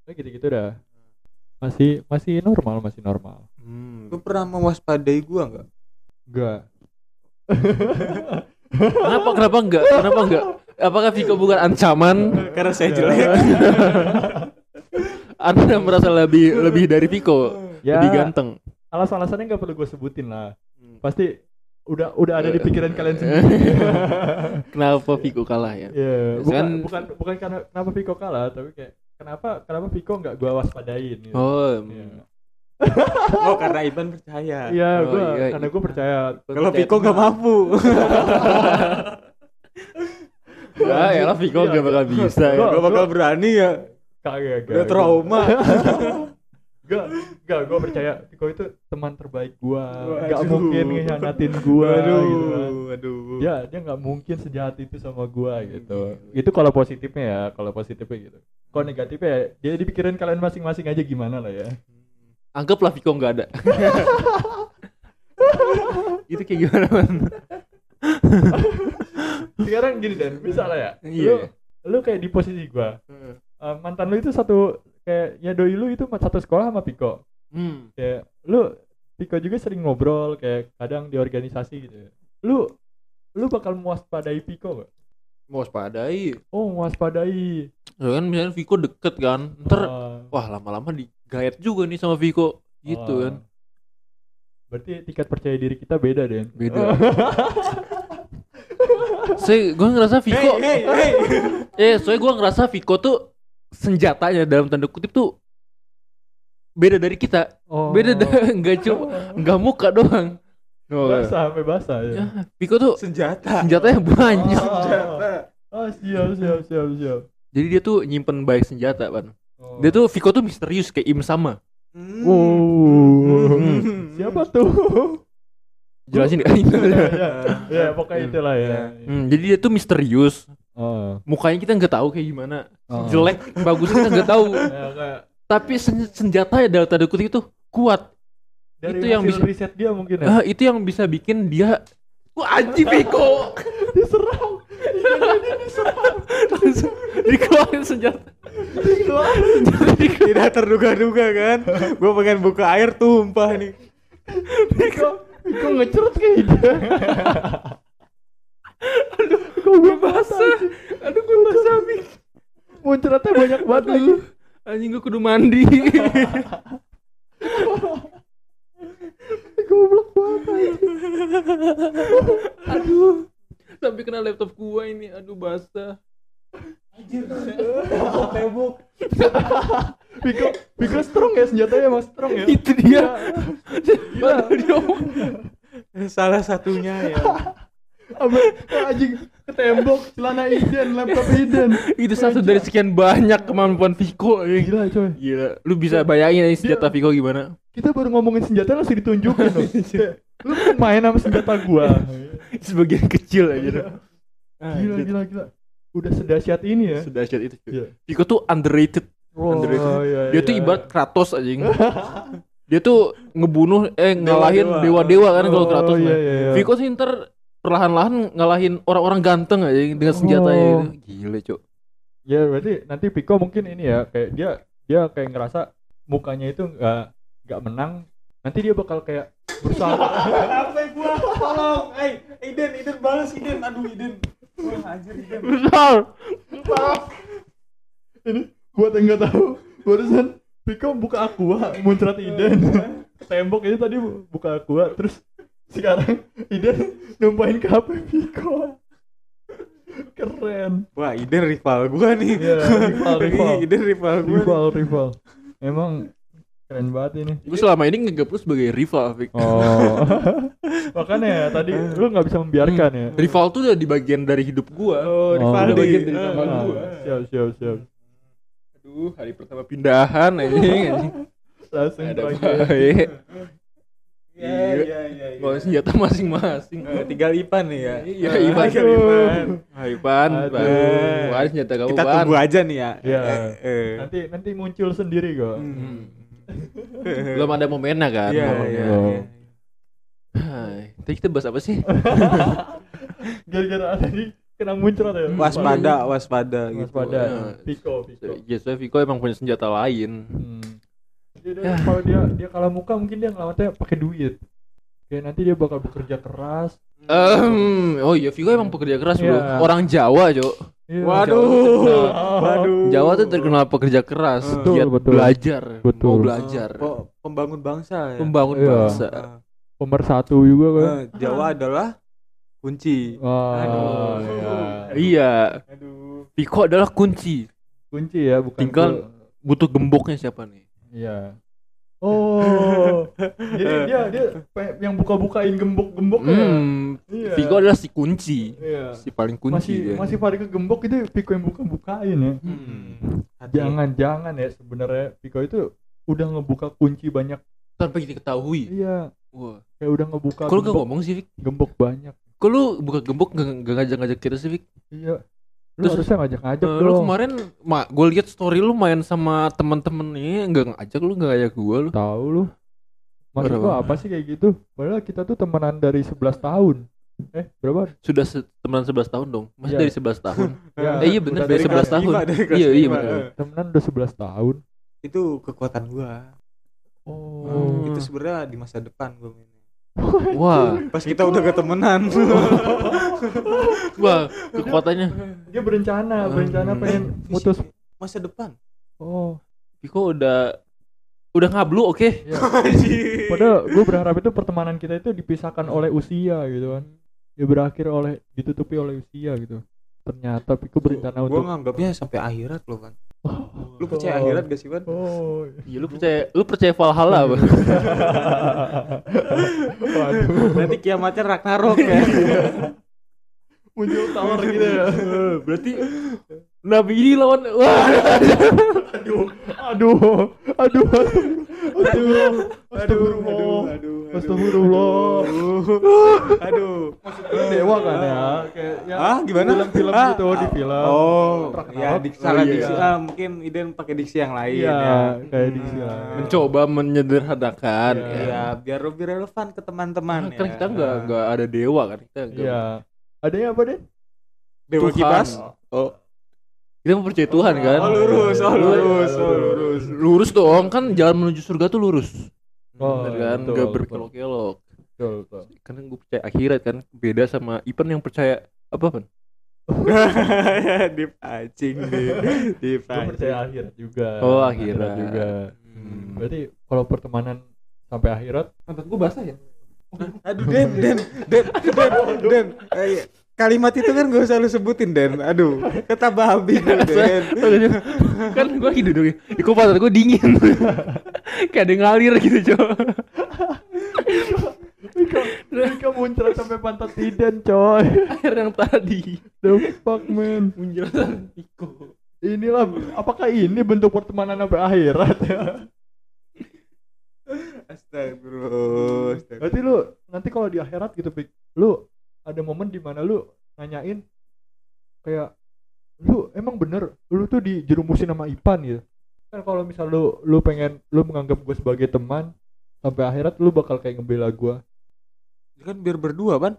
B: Ya, gitu-gitu dah masih masih normal masih normal
A: Hmm.
C: lu pernah mewaspadai gua nggak
B: enggak
A: Kenapa kenapa enggak? Kenapa enggak? Apakah Viko bukan ancaman?
B: Ya.
C: karena saya jelek
A: Anda merasa lebih lebih dari Viko,
B: ya
A: lebih ganteng.
B: alas-alasannya nggak perlu gue sebutin lah
A: Hmm.
B: pasti udah udah ada di pikiran kalian sendiri
A: Kenapa Viko kalah ya?
B: Iya,
A: Terus
B: bukan,
A: kan-
B: bukan bukan karena kenapa Viko kalah, tapi kayak kenapa kenapa Viko nggak gua waspadain gitu.
A: Oh.
B: Iya.
A: mm.
C: oh karena Iban percaya
B: Iya,
A: Oh,
B: gua
A: iya,
B: karena
A: iya.
B: gua percaya.
C: kalau Piko nggak mampu
B: Iya.
A: Ah, ya lah Viko
B: Iya,
A: enggak bakal bisa. ya.
B: Gua-
C: gak bakal berani ya
B: Kagak, gak.
C: udah trauma
B: Gak, gak, gua percaya Viko itu teman terbaik gua.
C: Waduh.
B: Gak mungkin ngehianatin gua
C: aduh
B: gitu. kan.
C: aduh
B: Dia dia nggak mungkin sejahat itu sama gua gitu. Itu kalau positifnya ya, kalau positifnya gitu. Kalau negatifnya ya, dia dipikirin kalian masing-masing aja gimana lah ya.
C: Hmm.
A: Anggaplah Viko enggak ada. Itu kayak gimana, Man?
B: Sekarang gini Dan, bisa lah ya.
A: Iya.
B: Lu, lu kayak di posisi gua.
C: Hmm.
B: Eh, mantan lu itu satu kayak ya doi lu itu satu sekolah sama Piko.
A: Hmm.
B: Kayak lu Piko juga sering ngobrol kayak kadang di organisasi gitu ya. Lu lu bakal mewaspadai Piko gak?
A: mau waspadai
B: Oh mewaspadai.
A: Ya kan misalnya Viko deket kan
C: Oh.
A: ntar
B: Ah,
A: wah lama-lama digayat juga nih sama Viko gitu
B: ah.
C: Oh.
A: kan
B: Berarti tingkat percaya diri kita beda Den.
A: beda saya gue ngerasa Viko
C: Hey, hey, hey.
A: eh soalnya gue ngerasa Viko tuh senjatanya dalam tanda kutip tuh beda dari kita
B: Oh.
A: beda dari nggak cuma nggak muka doang Oh,
B: eh. basah sampai basah ya.
A: ya, Viko tuh
C: Senjata.
A: senjatanya banyak
B: Oh. Oh siap siap siap siap.
A: jadi dia tuh nyimpen baik senjata kan
B: Oh.
A: dia tuh Viko tuh misterius kayak Im sama
C: Hmm.
B: Wow.
C: Hmm.
B: Siapa tuh?
A: jelasin nggak?
B: ya, ya, ya, pokoknya itulah ya.
A: Hmm, jadi dia tuh misterius
B: Oh.
A: mukanya kita nggak tahu kayak gimana
B: Oh.
A: jelek bagus kita nggak tahu
B: Ya, kayak
A: tapi sen- senjata ya dalam tanda kutip itu kuat
B: dari
A: Itu yang
B: hasil
A: bisa-
B: riset dia mungkin ya.
A: Ah, itu yang bisa bikin dia wah anjing Viko
B: diserang.
A: langsung dikeluarin senjata
C: Tidak terduga-duga kan. Gue pengen buka air tumpah nih.
B: Piko, Piko ngecerut kayak gitu. Aduh, kok gue basah.
A: aduh gue basah Viko
B: Muncratnya banyak banget lagi.
A: aduh anjing gue kudu mandi
B: Goblok banget.
A: aduh sampai kena laptop gua ini aduh basah
C: Tembok.
B: Piko, Piko strong ya senjatanya emang strong ya.
A: itu dia Padahal dia omong.
C: Salah satunya ya.
B: Abang, anjing ke tembok, celana Iden, laptop Iden.
A: itu satu dari sekian banyak kemampuan Viko anjing.
B: Gila coy.
A: Gila, Iya. lu bisa bayangin aja senjata Viko gimana?
B: Kita baru ngomongin senjata langsung ditunjukin loh. Kayak, Lu kan main sama senjata gua.
A: Sebagian kecil
B: Iya.
A: aja.
C: Ah.
B: Gila gila gila. Udah sedahsyat ini ya.
A: Sudah shit itu. cuy.
B: Iya.
A: Viko tuh underrated.
B: Wow,
A: Underrated.
B: iya,
A: Dia tuh
B: iya.
A: ibarat kan Kratos anjing. Dia tuh ngebunuh eh ngalahin
C: Dewa-dewa.
A: dewa-dewa kan kalau
B: Oh,
A: Kratos.
B: iya,
A: mah.
B: iya, iya.
A: Viko sih ntar perlahan-lahan ngalahin orang-orang ganteng aja dengan senjatanya
B: Oh.
A: itu. Gila, Cok.
B: Ya berarti nanti Piko mungkin ini ya kayak dia dia kayak ngerasa mukanya itu nggak nggak menang. Nanti dia bakal kayak berusaha.
C: Apa gue? Tolong. Oh, Hey, Iden, Iden balas Iden. Aduh, Iden. Wah, anjir Iden.
A: Besar.
B: ini buat yang nggak tahu barusan Piko buka aqua muncrat Iden ke tembok itu tadi bu- buka aqua terus sekarang Iden numpain ke HP Piko keren
C: Wah, Iden rival gue nih.
B: Iya, rival, rival.
C: Iden rival gue.
B: rival rival emang keren banget ini
A: Gue selama ini ngeanggap lu sebagai rival, Vik.
B: oh makanya ya tadi lu nggak bisa membiarkan ya
A: Rival tuh udah di bagian dari hidup gua.
C: Oh, rival
B: udah
C: di.
A: bagian dari nama
B: Ah,
A: gua.
B: siap siap siap
A: Aduh, hari pertama pindahan anjing. anjing.
B: langsung
A: Ada ya?
B: panggil
A: baik.
C: Iya, iya, iya. iya.
A: Bawa senjata masing-masing.
C: Eh, tinggal Ipan nih ya.
A: Iya,
C: Eh,
A: Ipan.
C: tinggal Ipan. Nah,
A: Hai Pan,
B: Aduh.
A: Pan. Wah, senjata kamu
C: Kita
A: Pan.
C: tunggu aja nih ya.
B: Iya.
C: Eh, eh, eh.
B: nanti nanti muncul sendiri kok
A: Hmm.
C: Hmm.
A: Belum ada momennya kan.
C: Iya,
A: Belum.
C: iya.
B: Oh.
C: iya.
A: Hai. Tadi kita bahas apa sih?
B: gara-gara tadi kena muncrat ya
C: Hmm. Waspada, waspada gitu.
B: waspada
A: Iya.
B: Piko Piko Hmm.
A: Ya, soalnya Viko emang punya senjata lain.
B: Jadi dia- Ya kalau dia dia kalah muka mungkin dia ngelawannya pakai duit kayak nanti dia bakal bekerja keras
A: Ehm, oh iya, Viko emang pekerja keras, Bro.
B: Iya.
A: Orang Jawa, Cok.
B: Iya.
C: Waduh. Waduh.
A: Jawa tuh terkenal pekerja keras,
C: Betul,
A: giat
B: Hmm. betul.
A: belajar,
B: Betul.
A: mau
B: Oh,
A: belajar,
C: Pe- pembangun bangsa ya.
A: membangun
B: Iya.
A: bangsa.
C: Ah.
B: pemersatu juga kan
C: Eh, Jawa adalah kunci.
B: Wah,
C: Aduh.
B: iya.
A: Iya,
C: Aduh.
A: Viko adalah kunci.
B: kunci ya bukan
A: Tinggal-
B: gua.
A: Butuh gemboknya siapa nih?
B: iya oh jadi dia dia pe- yang buka-bukain gembok-gembok ya
A: Hmm,
B: Iya.
A: Viko adalah si kunci,
B: Iya.
A: si paling kunci
B: masih
A: dia. Iya.
B: masih pada kegembok itu Piko yang buka-bukain ya
A: Hmm.
B: jangan jangan ya sebenarnya Piko itu udah ngebuka kunci banyak
A: tanpa kita ketahui.
B: iya
A: Wah.
B: kayak udah ngebuka
A: Kalau gak
B: gembok-
A: ngomong sih, Vik.
B: gembok banyak
A: Kok lu buka gembok gak, gak ngajak-ngajak kita sih, Vik?
B: iya lu
A: Terus-
B: harusnya ngajak-ngajak
A: Eh,
B: dong
A: lu kemarin, ma, gue liat story lu main sama temen-temen ini, gak ngajak lu, gak ngajak gue lu.
B: tahu lu maksud
A: Berapa?
B: gua apa sih kayak gitu padahal kita tuh temenan dari 11 tahun eh berapa
A: Sudah se- temenan 11 tahun dong, masih
B: Iya.
A: dari 11 tahun.
B: Ya,
A: eh iya bener,
B: udah
A: dari
B: dari
A: 11
B: kelas
A: tahun.
C: lima, dari kelas
A: Iya, iya
C: lima.
A: bener.
B: temenan udah 11 tahun
C: Itu kekuatan gua.
B: oh
A: Oh.
C: Itu sebenarnya di masa depan gue mainnya.
A: Wah,
C: Pas kita udah ketemenan.
A: wah kekuatannya.
B: dia berencana berencana
A: Hmm.
B: pengen putus
C: masa depan.
B: oh
A: Piko udah udah ngablu oke.
B: padahal gue berharap itu pertemanan kita itu dipisahkan oleh usia gitu kan ya berakhir oleh ditutupi oleh usia gitu ternyata Piko berencana
C: Gue
B: untuk
C: nganggapnya sampai akhirat loh kan. Lu percaya akhirat gak sih Van?
B: oh
A: Iya lu percaya lu percaya Valhalla Bang?
B: waduh
C: Nanti kiamatnya Ragnarok
B: Iya.
C: ya.
B: muncul tawar gitu ya
A: Berarti Nabi ini lawan wah
B: aduh aduh aduh aduh
C: aduh,
B: astagfirullah
C: aduh,
B: astagfirullah
C: aduh.
B: dewa kan ya kayak ya
C: Ah, gimana?
B: film-film
C: Ah,
B: gitu di
C: ah,
B: film
C: Oh,
B: Ragnarok.
C: ya di salah
B: Oh, iya.
C: diksi. Ah, mungkin Iden pakai diksi yang lain
B: Iya,
C: ya.
B: kayak
C: Hmm.
B: diksi lain.
A: mencoba menyederhanakan.
B: Iya.
A: ya.
C: Iya, biar lebih relevan ke teman-teman ya.
A: Kan kita nggak
B: Nah.
A: nggak ada dewa kan kita nggak-
B: iya ada yang apa deh
C: Dewa
A: Tuhan.
C: kipas. Oh,
A: Kita mempercaya Tuhan kan.
C: Oh, lurus, oh,
A: Lu-
C: lurus, oh, lurus.
A: Lurus dong kan jalan menuju surga tuh lurus.
B: Oh,
A: Bener kan
B: betul,
A: nggak
B: betul.
A: berkelok-kelok.
B: betul betul
A: Karena gue percaya akhirat kan beda sama Ipan yang percaya apa Pan?
C: dipancing nih.
B: gue
C: Dipancing.
B: percaya akhirat juga
A: Oh, akhirat.
B: juga
C: Nah, Hmm.
B: berarti kalau pertemanan sampai akhirat
C: Pantat gue basah ya? Aduh Den, Den, Den, Den, Den. Eh, iya. kalimat itu kan gak usah lu sebutin Den. Aduh, kata babi
B: Iya,
C: lu, Den.
A: kan gue gitu dong di kupas gue dingin kayak ada yang ngalir gitu coba
B: mereka muncrat sampai pantat tidan coy
A: air yang tadi
B: the fuck man
A: menjelaskan Iko
B: inilah apakah ini bentuk pertemanan sampai akhirat ya
C: Astagfirullah. astagfirullah.
B: berarti lu nanti kalau di akhirat gitu Pik, lu ada momen di mana lu nanyain kayak lu emang bener lu tuh dijerumusin sama Ipan gitu kan kalau misal lu lu pengen lu menganggap gue sebagai teman sampai akhirat lu bakal kayak ngebela gue
C: Kan biar berdua, Ban.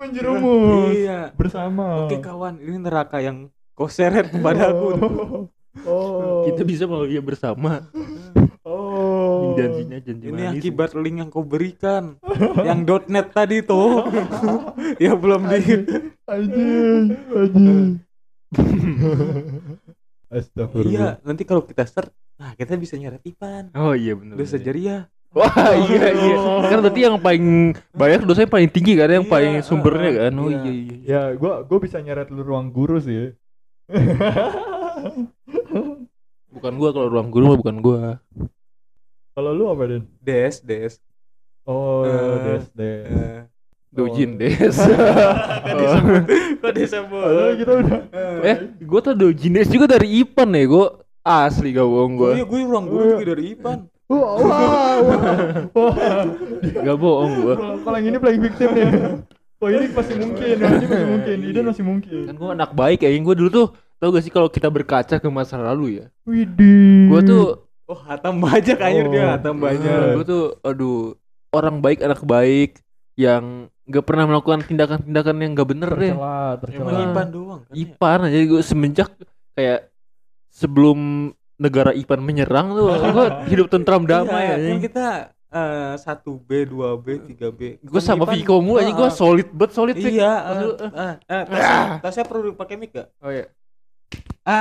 B: menjerumus
C: Iya.
B: bersama
C: Oke kawan, ini neraka yang kau seret kepadaku.
B: oh oh
A: kita bisa melalui bersama
B: oh
A: Ini janjinya janji
C: Ini
A: manis
C: akibat link yang kau berikan. yang .net tadi tuh. ya belum di
B: anjing anjing astagfirullah
C: Iya, nanti kalau kita search, nah kita bisa nyeret Ipan. ya.
A: oh iya benar
C: Dosa jariah.
A: wah iya iya kan berarti yang paling banyak dosanya paling tinggi kan yang
C: Iya,
A: paling sumbernya
C: ah,
A: kan oh
C: iya.
A: iya iya iya.
B: ya gua gua bisa nyeret lu ruang guru sih
A: bukan gua kalau ruang guru mah bukan gua
B: kalau lu apa den
C: Des, des.
B: oh
C: Eh,
B: des des
C: Eh,
B: Oh.
A: dojin des
C: Kok disebut?
B: Padahal kita Oh, gitu udah
A: eh gua tuh dojin des juga dari Ipan ya gua asli gak bohong gua
C: Gue gue iya, ruang guru juga dari Ipan.
B: wah wah wah, wah.
A: gak bohong gua
B: Kalau- kalau yang ini playing victim nih Oh ini masih mungkin, oh, ini masih mungkin, Idan masih mungkin.
A: kan gue anak baik ya yang gue dulu tuh tau gak sih kalau kita berkaca ke masa lalu ya
B: Widih.
A: gue tuh
C: Oh, hatam banyak anjir dia
B: Oh.
C: hatam
B: Iya.
C: banyak.
A: gue tuh aduh orang baik anak baik yang gak pernah melakukan tindakan-tindakan yang gak bener deh
B: tercela,
C: Cuma
A: Emang
B: tercela.
A: Ipan
C: Ipan doang kan. ya?
A: Ipan aja gue semenjak kayak sebelum negara Ipan menyerang tuh gue hidup tentram damai
C: Iya, kan
A: aja
C: kita eh, 1B, 2B, 3B.
A: gue
C: Kan
A: sama
C: Ipan-
A: Viko mulu aja gue
C: Ah, ah.
A: solid banget solid Fik.
C: Iya,
A: Pas
C: eh,
A: lu, eh.
C: eh, eh, tasnya- tasnya perlu dipakai mic Ah. gak?
A: oh iya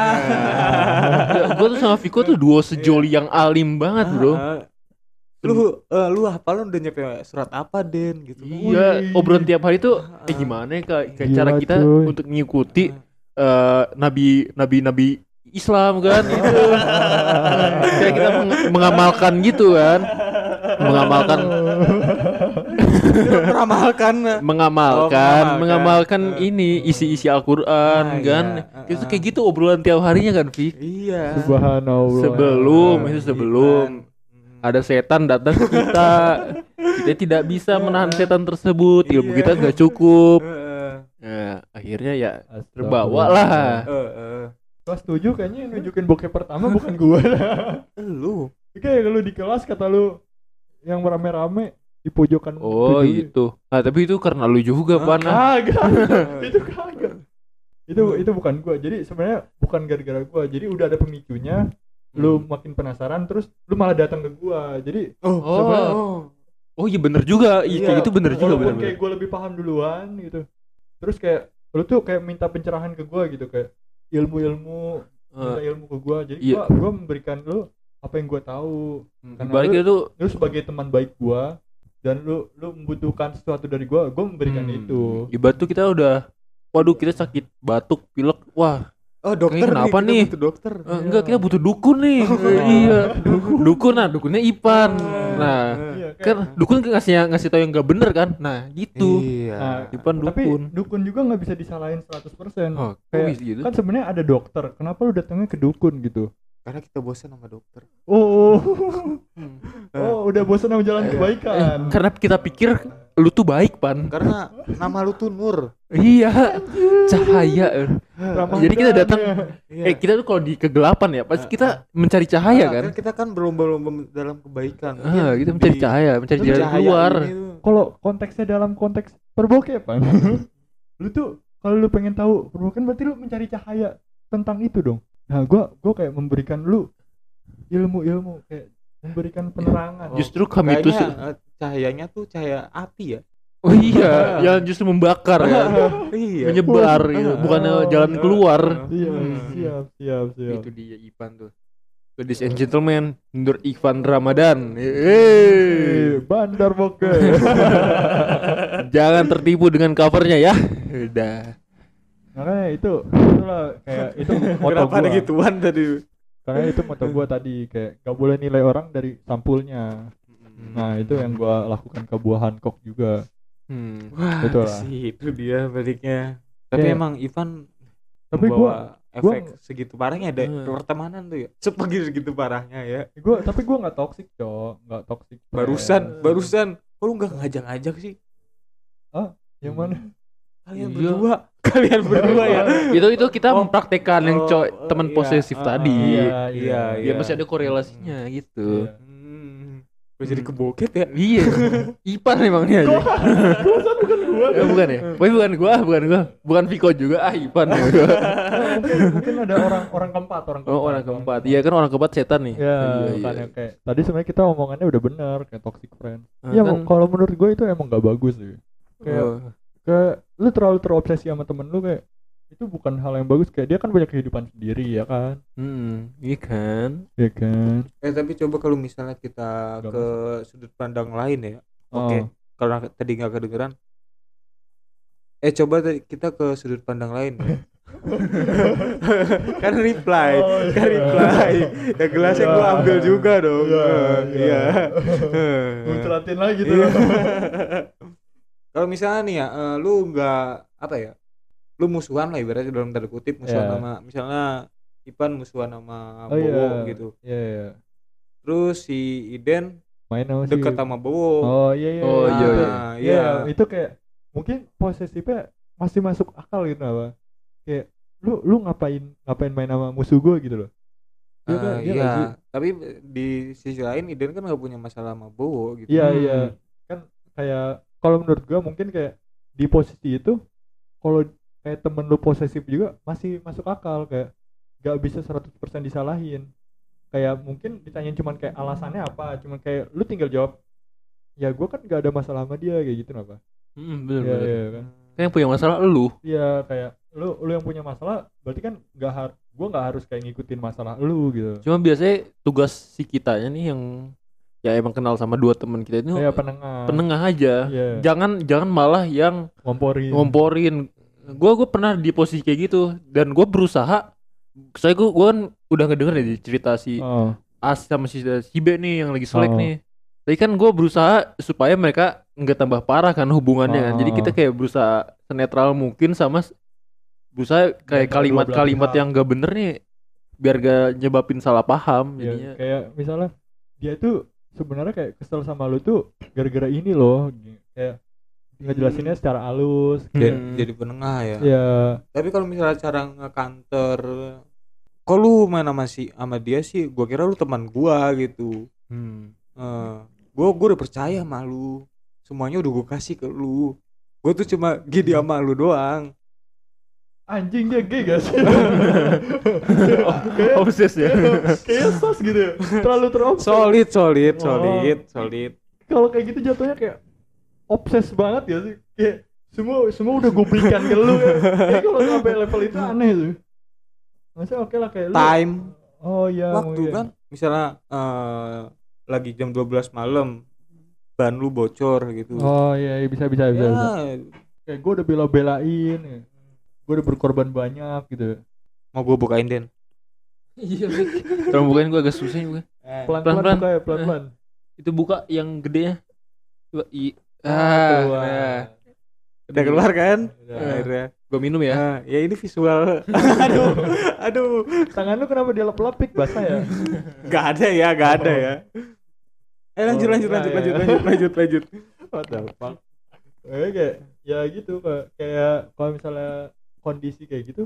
C: Ah.
A: gue tuh sama Viko tuh duo sejoli
C: Iya.
A: yang alim banget bro
C: Ah, ah. Lu eh, lu hafal lu udah nyampe surat apa Den gitu kan.
A: Iya,
B: Wih.
A: obrolan tiap hari tuh
C: Ah,
A: eh
C: ah.
A: gimana ya Kak, kayak
B: Gila,
A: cara kita
B: cuy.
A: untuk mengikuti eh, nabi nabi nabi Islam kan gitu. kayak kita meng- mengamalkan gitu kan. Mengamalkan
C: Lu meramalkan. Oh,
A: mengamalkan
C: mengamalkan.
A: mengamalkan
C: Eh.
A: ini isi-isi Al-Qur'an
C: Ah,
A: kan.
C: iya.
A: Kayak- kayak gitu obrolan tiap harinya kan, Vi.
C: Iya.
B: Subhanallah.
A: Sebelum
C: Ah,
A: itu sebelum
C: Ipan.
A: ada setan datang ke kita, kita tidak bisa menahan setan tersebut. Ilmu
C: Iya.
A: kita nggak cukup.
C: Heeh.
A: Nah, akhirnya ya
B: Astagfirullah.
A: terbawa lah.
C: Eh, eh.
B: Kelas 7 kayaknya yang nunjukin bokep pertama bukan gua lah.
C: eh. Lu
B: Kayak lu di kelas kata lu yang rame-rame di pojokan.
A: Oh
B: pojok-
A: itu. Nah tapi itu karena lu juga ya?
C: Ah,
A: panah.
B: Kagak. itu
A: Hmm.
B: kagak. Itu itu bukan gua. Jadi sebenarnya bukan gara-gara gua. Jadi udah ada pemicunya lu makin penasaran terus lu malah datang ke gua jadi
C: oh, Hmm,
A: Oh.
C: sebenarnya-
A: Oh iya bener juga, iya kayak
C: Iya,
A: gitu bener juga
B: walaupun
A: bener
B: kayak gua lebih paham duluan gitu terus kayak lu tuh kayak minta pencerahan ke gua gitu kayak ilmu-ilmu
A: Eh,
B: minta ilmu ke gua jadi
A: iya.
B: gua gua memberikan lu apa yang gua tahu
C: Oh.
B: karena
A: Balik
B: lu-
A: itu
B: lu sebagai teman baik gua dan lu lu membutuhkan sesuatu dari gua gua memberikan
A: Hmm.
B: itu Iya,
A: Di batu kita udah waduh kita sakit batuk pilek wah
C: oh dokter
A: Kayaknya kenapa
C: kita
A: nih?
C: butuh dokter
B: Iya.
A: eh, enggak kita butuh dukun nih iya dukun nah dukunnya Ipan
C: Hmm.
A: nah
B: Iya, kayak-
A: kan dukun ngasih ngasih tahu yang gak bener kan nah gitu
C: iya
B: Nah,
A: Ipan
B: tapi
A: dukun
B: dukun juga nggak bisa disalahin 100%
A: oh,
B: kayak-
A: kok gitu
B: kan sebenarnya ada dokter kenapa lu datangnya ke dukun gitu
C: karena kita bosan sama dokter
B: oh
A: Hmm.
B: oh udah bosan sama jalan kebaikan
A: Eh, karena kita pikir lu tuh baik pan
C: karena nama lu tuh Nur
A: iya cahaya eh.
B: Ramadan
A: jadi kita datang
B: ya.
C: Iya.
A: eh kita tuh kalau di kegelapan ya
C: Ah,
A: pasti kita mencari cahaya
C: Nah,
A: kan
C: kita kan berlomba-lomba dalam kebaikan
A: ah, kita mencari cahaya mencari
C: Lu
A: jalan
C: Iya, cahaya
A: keluar
C: ini tuh.
B: kalau konteksnya dalam konteks perbokepan lu tuh kalau lu pengen tahu perbokepan kan berarti lu mencari cahaya tentang itu dong nah gua gua kayak memberikan lu ilmu-ilmu kayak memberikan penerangan
A: justru kami itu
C: Oh, kayaknya eh, cahayanya tuh cahaya api ya
A: oh iya yang justru membakar kan
C: iya
A: menyebar gitu
C: Ah. iya.
A: bukannya jalan keluar
B: iya
C: Hmm.
B: siap siap siap
A: itu dia Ipan tuh ladies and gentlemen Nur Ivan Ramadan
C: eh.
A: Yeay.
B: Eh, bandar boke
A: jangan tertipu dengan covernya ya udah
B: makanya itu itulah kayak itu moto
C: kenapa ada gitu?
B: gua
C: gituan tadi
B: karena itu moto gua tadi kayak gak boleh nilai orang dari sampulnya nah itu yang gua lakukan ke buah Hancock juga
A: Hmm.
C: wah
B: Betul lah.
C: sih itu dia baliknya tapi
B: Iya.
C: emang Ivan
B: tapi gua
C: membawa efek segitu parahnya ada
A: Hmm.
C: pertemanan tuh ya sepegir segitu parahnya ya
B: gua tapi gua nggak toxic cok nggak toxic Iya,
C: barusan
A: Hmm.
C: barusan kok lu nggak ngajak-ngajak sih
B: yang mana
C: kalian
A: Iya.
C: berdua kalian berdua ya
A: itu itu kita
C: Oh,
A: mempraktekkan yang
C: oh,
A: cowok
C: oh,
A: teman
C: iya,
A: posesif
C: ah,
A: tadi
C: iya,
B: iya,
A: ya
C: iya.
A: masih ada korelasinya gitu
B: Iya.
C: Hmm. Gua jadi keboket ya
A: iya Ipan emang nih aja
B: barusan bukan gua
A: Eh, bukan ya Wah, bukan gua bukan gua bukan Viko juga ah Ipan ya gua.
B: Nah, mungkin, mungkin ada orang orang keempat orang keempat
A: Oh, orang keempat. Iya kan orang keempat setan nih.
B: ya
A: Iya, iya.
B: makanya kayak tadi sebenarnya kita omongannya udah benar kayak toxic friend
A: Ah,
C: Nah,
B: ya
A: kan-
B: kalau menurut gua itu emang nggak bagus sih kayak
A: Oh.
B: kayak lu terlalu terobsesi sama temen lu kayak itu bukan hal yang bagus kayak dia kan punya kehidupan sendiri ya kan
A: Hmm, iya kan.
B: ya kan
C: eh tapi coba kalau misalnya kita
B: Nggak
C: ke sudut pandang lain ya
B: Oh.
C: oke kalau nggak- tadi nggak kedengeran eh coba tadi kita ke sudut pandang lain ya. kan reply
B: Oh, iya.
C: kan reply ya gelasnya gua
B: Iya.
C: ambil juga dong
B: Iya,
C: Eh,
B: iya.
C: iya
B: Gua celatin lagi tuh
C: Iya. kalau misalnya nih ya eh, lu nggak apa ya lu musuhan lah ibaratnya dalam tanda kutip musuhan
B: Iya.
C: sama misalnya Ipan musuhan sama
B: Oh,
C: Bowo
B: iya.
C: gitu
B: Iya, iya.
C: terus si Iden
B: main sama si-
C: deket sama Bowo
B: Oh iya iya.
A: Oh, iya, iya.
B: Nah, iya. Itu kayak mungkin posesifnya masih masuk akal gitu apa? Kayak lu lu ngapain ngapain main sama musuh gue gitu loh. Iya kan?
C: Ah,
B: Iya
C: iya,
B: nggak sih?
C: tapi di sisi lain Iden kan nggak punya masalah sama Bowo gitu.
B: Iya
A: Hmm.
B: iya. Kan kayak kalau menurut gue mungkin kayak di posisi itu kalau kayak temen lu posesif juga masih masuk akal kayak gak bisa 100% disalahin. Kayak mungkin ditanyain cuman kayak alasannya apa, cuman kayak lu tinggal jawab ya gue kan gak ada masalah sama dia kayak gitu apa.
A: Hmm, bener,
B: Iya
A: bener.
B: iya kan.
A: Kan yang punya masalah lu.
B: Iya kayak lu lu yang punya masalah berarti kan nggak har gua nggak harus kayak ngikutin masalah lu gitu.
A: Cuma biasanya tugas si kitanya nih yang ya emang kenal sama dua teman kita itu
B: Iya penengah.
A: penengah aja.
B: Iya.
A: Jangan jangan malah yang
B: Ngomporin.
A: ngomporin. Gua gua pernah di posisi kayak gitu dan gua berusaha saya gua, gua kan udah ngedenger ya di cerita si
B: Oh.
A: A sama si, si B nih yang lagi selek
B: Oh.
A: nih. Tapi kan gue berusaha supaya mereka nggak tambah parah kan hubungannya kan. Jadi
B: Oh.
A: kita kayak berusaha senetral mungkin sama s- berusaha kayak
B: Biar kedua belah
A: kalimat-kalimat
B: pihak.
A: yang gak bener nih biar gak nyebabin salah paham
B: Iya,
A: jadinya.
B: kayak misalnya dia tuh sebenarnya kayak kesel sama lu tuh gara-gara ini loh kayak ngejelasinnya secara halus
A: Hmm.
C: Jadi, jadi penengah ya.
B: ya
C: Tapi kalau misalnya cara ngekanter kok lu main sama si sama dia sih gua kira lu teman gua gitu.
A: Hmm.
C: Eh, gua gua udah percaya sama lu.
B: Hmm.
C: Semuanya udah gua kasih ke lu. Gua tuh cuma gini sama lu doang.
B: anjing dia gay gak sih? Kayak-
A: Obses ya.
B: Kayak sos gitu ya. Terlalu terobses.
C: solid solid
B: Oh.
C: solid solid
B: Kalau kayak gitu jatuhnya kayak obses banget ya sih. Kayak semua semua udah gue berikan ke lu ya. Kayak kalau sampai level itu aneh tuh. Masa oke lah kayak lu.
C: time
B: Oh iya.
C: waktu
B: mungkin.
C: kan misalnya eh, lagi jam 12 malam ban lu bocor gitu
B: Oh iya iya, bisa bisa bisa. bisa.
C: ya,
B: Kayak gue udah bela-belain. Ya. Gue udah berkorban banyak gitu.
C: mau gue bukain den
A: Iya. Kalau bukain gue agak susah juga. Pelan-pelan.
B: Pelan-pelan buka ya pelan-pelan.
A: Itu buka yang gedenya. Coba i.
B: Tua.
A: Ah.
B: Iya.
C: udah keluar kan
B: Udah.
C: akhirnya
A: Gue minum
B: Iya.
A: ya.
C: Nah, ya ini visual aduh aduh
B: Tangan lu kenapa dia lap-lapik basah ya?
C: nggak ada ya nggak ada ya eh lanjut
B: Oh,
C: lanjut
B: iya, iya.
C: lanjut lanjut lanjut lanjut lanjut
B: What the fuck? Eh, kayak ya gitu kayak, kayak kalau misalnya kondisi kayak gitu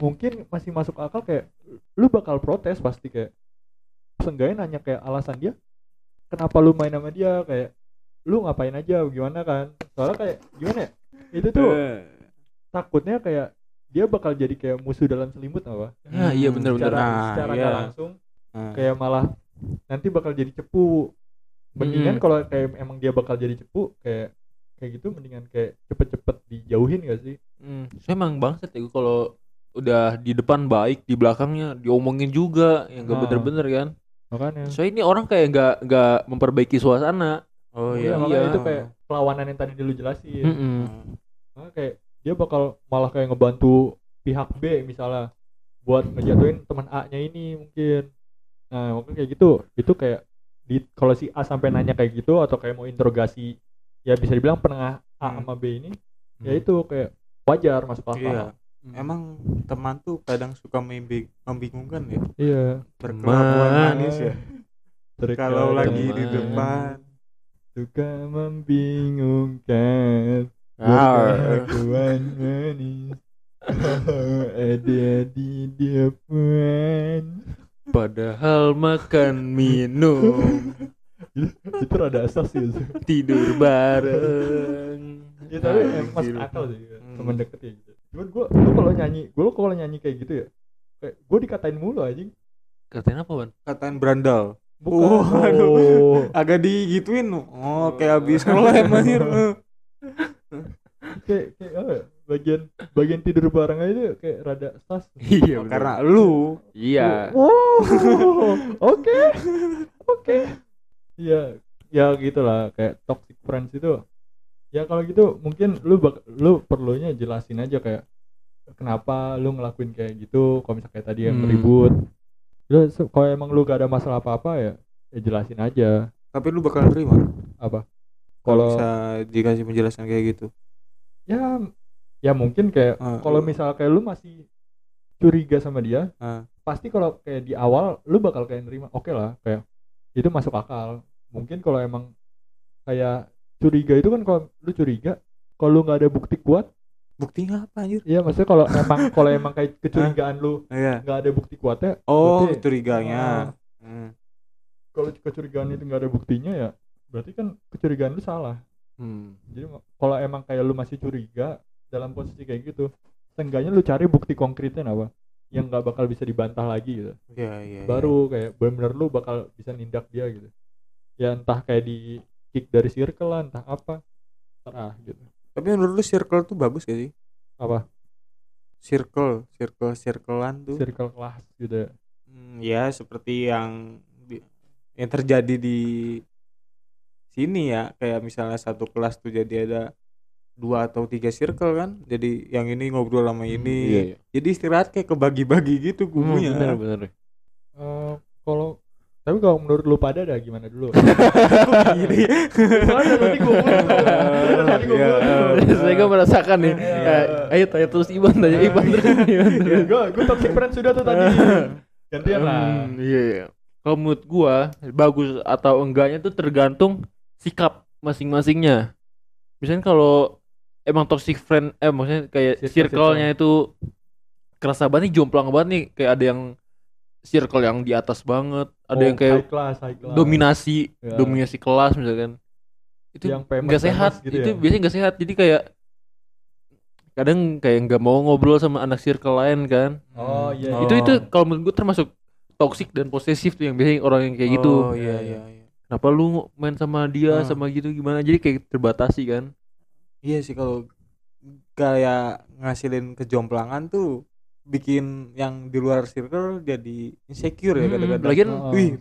B: mungkin masih masuk akal kayak lu bakal protes pasti kayak seenggaknya nanya kayak alasan dia kenapa lu main sama dia kayak lu ngapain aja gimana kan soalnya kayak gimana ya itu tuh
C: Eh,
B: takutnya kayak dia bakal jadi kayak musuh dalam selimut apa
A: Ah, iya
C: Hmm,
A: bener
B: secara
A: bener.
C: Nah,
B: secara nggak
C: iya.
B: langsung
C: nah.
B: kayak malah nanti bakal jadi cepu mendingan
A: Mm.
B: kalau kayak emang dia bakal jadi cepu kayak kayak gitu mendingan kayak cepet-cepet dijauhin gak sih
A: Hmm. Saya emang bangsat ya gua kalau udah di depan baik di belakangnya diomongin juga yang gak
B: Ah.
A: bener-bener kan
B: makanya
A: soalnya ini orang kayak nggak nggak memperbaiki suasana
C: oh
A: iya,
B: makanya
A: iya. Hmm.
B: itu kayak perlawanan yang tadi dulu jelasin
A: Mm-mm.
B: Makanya kayak dia bakal malah kayak ngebantu pihak B misalnya buat ngejatuhin teman A-nya ini mungkin nah mungkin kayak gitu itu kayak di kalau si A sampai nanya kayak gitu atau kayak mau interogasi ya bisa dibilang penengah A
C: Hmm.
B: sama B ini ya itu kayak wajar masuk akal
C: Iya.
A: Hmm.
C: Emang teman tuh kadang suka membi- membingungkan ya.
B: iya.
C: Berkelakuan
A: Teman. Iya,
C: manis ya. Kalau lagi di
A: Teman.
C: depan.
B: suka membingungkan
A: Arr.
B: berkelakuan manis Oh, ada di depan
A: padahal makan
C: Oh.
A: minum
B: itu rada asas sih itu.
A: tidur bareng
B: ya tapi
A: Nah,
B: emang masuk
A: gitu.
B: akal sih ya.
C: Hmm.
B: teman deket ya gitu cuman gue lu kalau nyanyi gue lu kalau nyanyi kayak gitu ya kayak gue dikatain mulu anjing
A: katain apa ban
C: Katain berandal.
B: bukan
C: Oh, aduh.
B: Oh.
C: Agak digituin. Oh, kayak habis ngelem
A: Iya,
C: anjir. Eh,
B: kayak kayak apa ya, bagian bagian tidur bareng aja tuh kayak rada sas
A: iya bener.
C: Oh, Karena lu
A: iya
B: Wow. Oke. Oke. Iya, ya gitulah kayak toxic friends itu. Ya kalau gitu mungkin lu bak- lu perlunya jelasin aja kayak kenapa lu ngelakuin kayak gitu, kalau misalnya kayak tadi yang
A: Hmm.
B: ribut. Lu se- kalau emang lu gak ada masalah apa-apa ya, ya jelasin aja
C: tapi lu bakal terima
B: apa.
C: kalau
B: Kalau
C: bisa dikasih penjelasan kayak gitu.
B: ya ya mungkin kayak
C: Ah.
B: kalau misalnya kayak lu masih curiga sama dia,
C: Ah.
B: pasti kalau kayak di awal lu bakal kayak nerima oke lah kayak itu masuk akal mungkin kalau emang kayak curiga itu kan kalau lu curiga kalau lu nggak ada bukti kuat
C: Buktinya apa anjir?
B: ya maksudnya kalau emang kalau emang kayak kecurigaan lu
C: Iya.
B: nggak ada bukti ya, Ah. kuatnya
C: Oh,
B: Berarti-
C: curiganya. Hmm.
B: kalau kecurigaan itu nggak ada buktinya ya berarti kan kecurigaan lu salah
A: Hmm.
B: jadi ma- kalau emang kayak lu masih curiga dalam posisi kayak gitu seenggaknya lu cari bukti konkretnya apa yang nggak bakal bisa dibantah lagi gitu
C: Iya, iya. iya.
B: baru kayak bener-bener lu bakal bisa nindak dia gitu ya entah kayak di kick dari circle lah entah apa terah gitu
C: Tapi menurut lu circle tuh bagus gak sih?
B: Apa?
C: Circle, circle, circlean tuh.
B: circle kelas gitu ya
C: Hmm, ya seperti yang di- yang terjadi di sini ya kayak misalnya satu kelas tuh jadi ada dua atau tiga circle kan jadi yang ini ngobrol sama ini
A: iya iya
C: jadi istirahat kayak kebagi-bagi gitu
A: Hmm,
C: kubunya
A: bener bener
B: Eh, kalau tapi kalau menurut lu pada ada gimana dulu
C: Gini.
B: soalnya nanti gue nanti gue
C: Iya.
A: saya gak merasakan nih
B: Iya.
A: Eh, ayo tanya terus Iban tanya Iban terus Iban terus.
B: gue gue toxic friend sudah tuh tadi gantian Iya. lah
A: Hmm, iya, iya. Kalau menurut gua bagus atau enggaknya itu tergantung sikap masing-masingnya. Misalnya kalau emang toxic friend eh maksudnya kayak
B: Circle-
A: circle-nya itu kerasa banget nih jomplang banget nih kayak ada yang circle yang di atas banget, ada
B: Oh,
A: yang kayak
B: high class, high class.
A: dominasi
B: Ya.
A: dominasi kelas misalkan. Itu
B: Yang famous-
A: enggak
B: famous
A: sehat.
B: gitu
A: itu
B: ya.
A: biasanya enggak sehat. Jadi kayak kadang kayak nggak mau ngobrol sama anak circle lain kan
B: Oh iya.
C: Oh.
A: itu itu kalau menurut gue termasuk toksik dan posesif tuh yang biasanya orang yang kayak gitu
C: oh iya iya iya
A: kenapa lu main sama dia
C: Hmm.
A: sama gitu gimana jadi kayak terbatasi kan
C: Iya sih kalau kayak ngasilin kejomplangan tuh bikin yang di luar circle jadi insecure ya
A: Mm-mm.
C: kadang-kadang
A: Hmm, Lagian,
B: Oh.
C: wih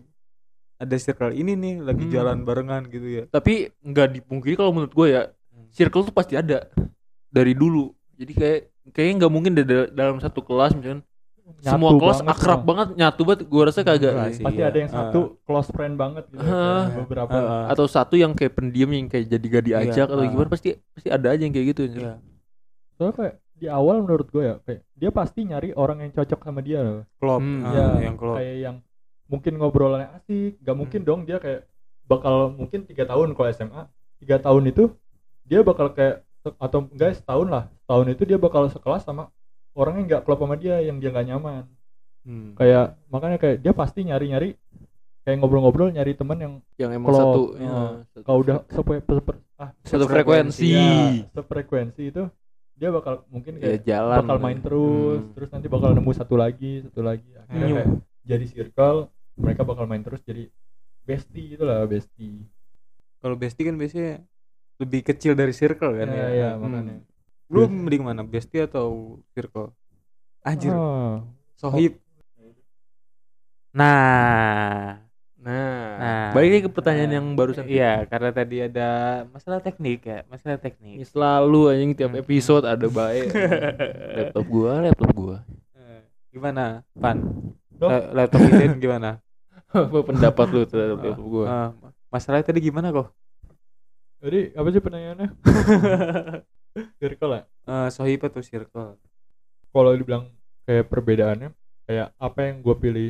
C: ada circle ini nih lagi
A: Hmm.
C: jalan barengan gitu ya
A: tapi nggak dipungkiri kalau menurut gue ya circle tuh pasti ada dari dulu jadi kayak kayaknya nggak mungkin dari dalam satu kelas misalkan
B: Nyatu
A: semua kelas
B: banget ah.
A: akrab
B: lah.
A: banget nyatu banget gue rasa kagak
C: Enggak
A: deh.
C: sih,
B: Pasti
C: iya. Ah.
B: ada yang satu close friend banget gitu.
A: Heeh.
B: ada beberapa.
C: Heeh.
A: atau satu yang kayak pendiam yang kayak jadi gak diajak atau
C: ah.
A: gimana pasti pasti ada aja yang kayak gitu anjir.
C: Iya.
B: Soalnya kayak di awal menurut gue ya kayak dia pasti nyari orang yang cocok sama dia loh.
C: klop
A: Hmm.
C: ah,
B: Ya,
C: yang Hmm. klop
B: Kayak yang mungkin ngobrolannya asik, gak mungkin dong dia kayak bakal mungkin tiga tahun kalau SMA, tiga tahun itu dia bakal kayak atau enggak setahun lah, setahun itu dia bakal sekelas sama orang yang nggak klop sama dia, yang dia nggak nyaman.
C: Hmm.
B: Kayak makanya kayak dia pasti nyari-nyari kayak ngobrol-ngobrol nyari teman yang
A: yang emang
B: Klop,
A: satu
B: ah.
A: ya, satu-
B: kalau udah sepe, sepe- ah,
A: satu frekuensi
B: ya, sefrekuensi itu dia bakal mungkin
A: ya,
C: Iya,
B: kayak
A: jalan
B: Iya. bakal main terus
A: Hmm.
B: terus nanti bakal nemu satu lagi satu lagi akhirnya
C: gitu. Hmm.
B: kayak jadi circle mereka bakal main terus jadi bestie itulah bestie
C: kalau bestie kan biasanya lebih kecil dari circle kan
B: ya
C: ya,
B: ya,
C: Hmm.
B: makanya
C: lu mending mana bestie atau circle anjir Eh.
B: Ah,
C: sohib nah
A: nah,
C: Nah.
A: balik lagi ke pertanyaan yang barusan
C: iya karena tadi ada masalah teknik ya masalah
A: Ini
C: teknik
A: selalu anjing tiap
C: Hmm.
A: episode ada baik laptop gua laptop gua
C: Eh, gimana pan
B: Loh?
C: La- laptop Iden gimana
A: apa pendapat lu terhadap
C: Ah,
A: laptop gua
C: Eh, masalahnya tadi gimana kok
B: jadi apa sih pertanyaannya circle ya
C: Eh, sohib atau circle
B: kalau dibilang kayak perbedaannya kayak apa yang gue pilih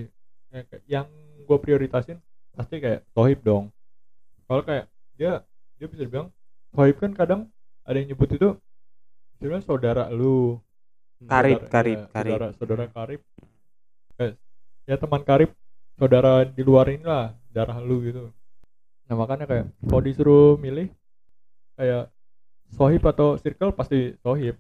B: ya, kayak yang gue prioritasin pasti kayak tohib dong kalau kayak dia dia bisa bilang tohib kan kadang ada yang nyebut itu sebenarnya saudara lu
C: Karib,
B: Saudara-
C: karib,
B: ya,
C: karib.
B: saudara saudara karib Eh, ya teman karib saudara di luar inilah darah lu gitu nah makanya kayak kalau disuruh milih kayak sohib atau circle pasti sohib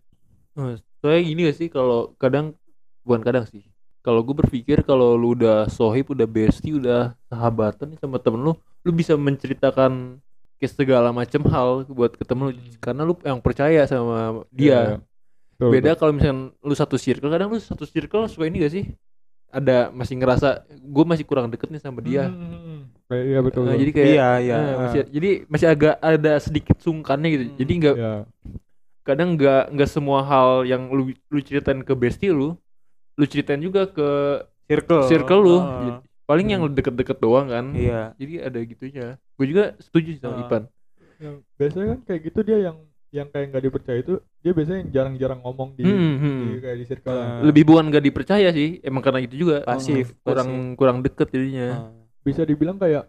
A: Eh, Soalnya gini gak sih kalau kadang bukan kadang sih. Kalau gue berpikir kalau lu udah sohib, udah bestie, udah sahabatan nih sama temen lu, lu bisa menceritakan ke segala macam hal buat ke temen lu
B: Hmm.
A: karena lu yang percaya sama dia.
B: Iya, Betul,
A: Beda kalau misalnya lu satu circle, kadang lu satu circle suka ini gak sih? Ada masih ngerasa gue masih kurang deket nih sama dia.
B: Hmm, ah. kayak- iya
A: Eh,
B: betul. betul.
A: jadi kayak
C: iya iya
A: eh,
C: eh.
A: masih- jadi masih agak ada sedikit sungkannya gitu.
C: Hmm.
A: Jadi nggak
B: Iya.
A: kadang nggak nggak semua hal yang lu lu ceritain ke bestie lu lu ceritain juga ke
C: circle
A: circle lu Iya.
C: Ah,
A: Jadi, paling yang deket-deket doang kan
C: Hmm. iya
A: jadi ada gitunya gue juga setuju sih sama
C: Ah.
A: Ipan
B: Yang biasanya kan kayak gitu dia yang yang kayak nggak dipercaya itu dia biasanya yang jarang-jarang ngomong di,
C: iya.
A: Hmm, hmm.
B: di kayak di circle.
C: Eh,
A: lebih bukan nggak dipercaya sih emang karena itu juga Hmm,
C: Pasif,
A: kurang kurang deket jadinya
C: eh.
B: Bisa dibilang kayak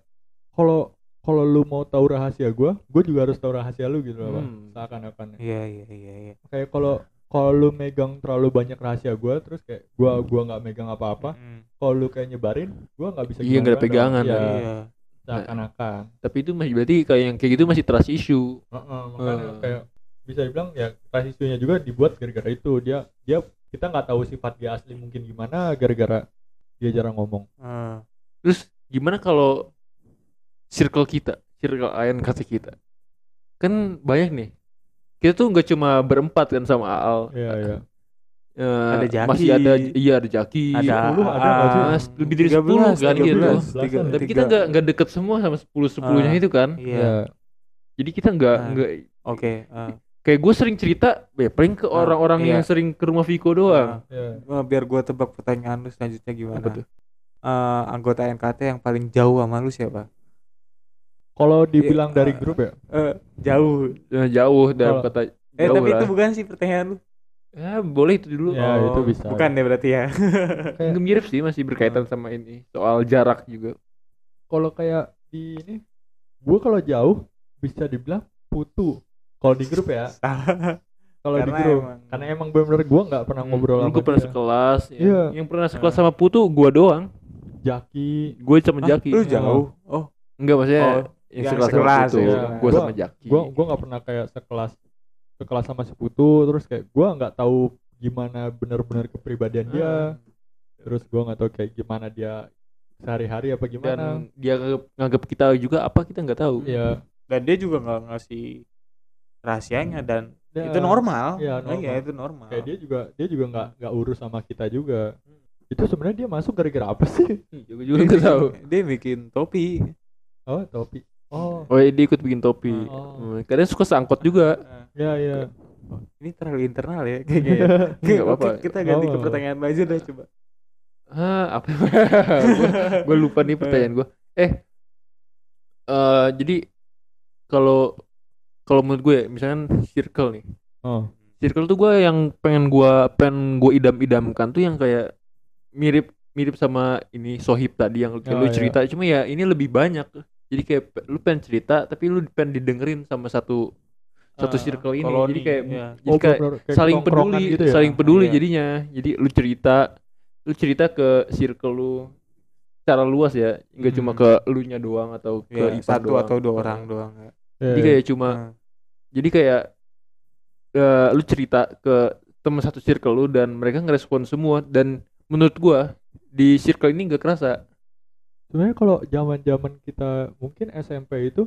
B: kalau kalau lu mau tahu rahasia gua, gua juga harus tahu rahasia lu gitu loh, Bang.
A: Hmm.
B: Seakan-akan. ya.
C: iya iya iya iya
B: Kayak kalau kalau lu megang terlalu banyak rahasia gua terus kayak gua gua nggak megang apa-apa,
C: Mm.
B: kalau lu kayak nyebarin, gua nggak bisa
A: Iya, nggak ada
B: gimana-gimana
A: pegangan
B: dong.
A: tadi.
B: Iya,
C: iya
B: seakan-akan.
A: tapi itu masih berarti kayak yang kayak gitu masih trust issue
B: Heeh, makanya
A: Eh.
B: kayak bisa dibilang ya trust issue-nya juga dibuat gara-gara itu dia dia kita nggak tahu sifat dia asli mungkin gimana gara-gara dia jarang ngomong
C: Eh,
A: terus gimana kalau circle kita circle Ayan kasih kita kan banyak nih kita tuh nggak cuma berempat kan sama Al
B: Iya iya
A: Eh,
C: Ada Jaki.
A: masih ada iya ada jaki
C: ada
B: 10 ada nggak sih?
C: ah,
A: Mas, lebih dari 10 kan gitu.
B: 13,
C: tiga-
A: tapi
C: tiga.
A: kita nggak nggak deket semua sama sepuluh sepuluhnya
C: Ah.
A: itu kan
C: iya
A: jadi kita nggak
C: Ah.
A: nggak
C: oke eh.
A: kayak gue sering cerita ya paling ke
C: Ah,
A: orang-orang
C: iya.
A: yang sering ke rumah Viko doang
B: iya
C: Eh, biar gua tebak pertanyaan lu selanjutnya gimana
A: Apa tuh?
C: Eh, anggota NKT yang paling jauh sama lu siapa
B: kalau dibilang
C: Iya,
B: dari
C: eh,
B: grup ya
C: Eh, jauh
A: Nah, jauh dalam
B: Kalau-
A: kata
C: Eh
A: jauh
C: tapi
A: lah.
C: itu bukan sih pertanyaan lu.
A: Ya, boleh itu dulu
B: Ya,
A: Oh.
B: itu bisa.
C: Bukan deh berarti ya.
B: Kayak-
A: Nggak mirip sih masih
C: Ah.
A: berkaitan sama ini soal jarak juga
B: kalau kayak di ini gua kalau jauh bisa dibilang putu kalau di grup ya
C: Salah.
B: kalau di
C: Karena
B: grup
C: emang-
B: karena emang benar-benar Hmm, gua nggak pernah ngobrol
A: Dulu
B: sama
A: gue pernah
B: dia.
A: sekelas ya.
B: Iya.
A: yang pernah sekelas sama Putu gue doang
B: Jaki
A: gue sama
C: Ah. Hah,
A: Jaki
C: Lu jauh. Oh,
A: nggak maksudnya
C: Oh,
A: yang
C: yang
A: sekelas sama
C: sekelas,
A: Putu
B: iya.
A: gue sama
B: Gua-
A: Jaki
B: gua gua nggak pernah kayak sekelas sekelas sama seputu terus kayak gua nggak tahu gimana benar-benar kepribadian dia
C: Hmm.
B: terus gua nggak tahu kayak gimana dia sehari-hari apa
A: dan
B: gimana
A: dia nganggap, nganggap kita juga apa kita nggak tahu
B: ya
C: dan dia juga nggak ngasih rahasianya dan
B: dan-
C: itu
B: Hmm.
C: normal
B: Iya,
C: Nah, iya,
B: normal.
C: itu normal
B: kayak dia juga dia juga nggak nggak urus sama kita juga
C: Hmm.
B: itu sebenarnya dia masuk gara-gara apa sih
A: Iya, gue juga nggak tahu
C: dia bikin topi
B: oh topi oh
A: oh iya, dia ikut bikin topi Hmm,
B: Oh.
A: kadang suka sangkot juga
C: Nah,
B: ya ya
C: ini terlalu internal ya kayaknya ya. Oke,
A: Nggak apa-apa.
C: kita
B: Nggak
C: ganti ke
B: apa-apa.
C: pertanyaan lu aja dah coba
A: Hah, apa gue lupa nih pertanyaan gue eh eh, jadi kalau kalau menurut gue ya, misalkan circle nih
B: oh
A: circle tuh gue yang pengen gue pengen gue idam-idamkan tuh yang kayak mirip mirip sama ini sohib tadi yang kayak
B: Oh,
A: lu
B: iya.
A: cerita cuma ya ini lebih banyak jadi kayak pe- lu pengen cerita tapi lu pengen didengerin sama satu satu
C: Ah,
A: circle ini
C: koloni,
A: jadi kayak
C: iya.
A: jadi
B: Oh,
A: kayak
B: bener-bener kayak
A: saling
B: ketongkrongan
A: peduli
B: gitu ya?
A: saling peduli
C: Iya.
A: jadinya jadi lu cerita lu cerita ke circle lu secara luas ya nggak cuma
C: Hmm.
A: ke lu nya doang atau ke
C: Iya,
A: Ipan
C: satu
A: doang.
C: atau dua orang doang ya.
A: jadi
B: Iya.
A: kayak cuma
C: Nah,
A: jadi kayak eh, lu cerita ke teman satu circle lu dan mereka ngerespon semua dan menurut gua di circle ini nggak kerasa
B: sebenarnya kalau zaman zaman kita mungkin SMP itu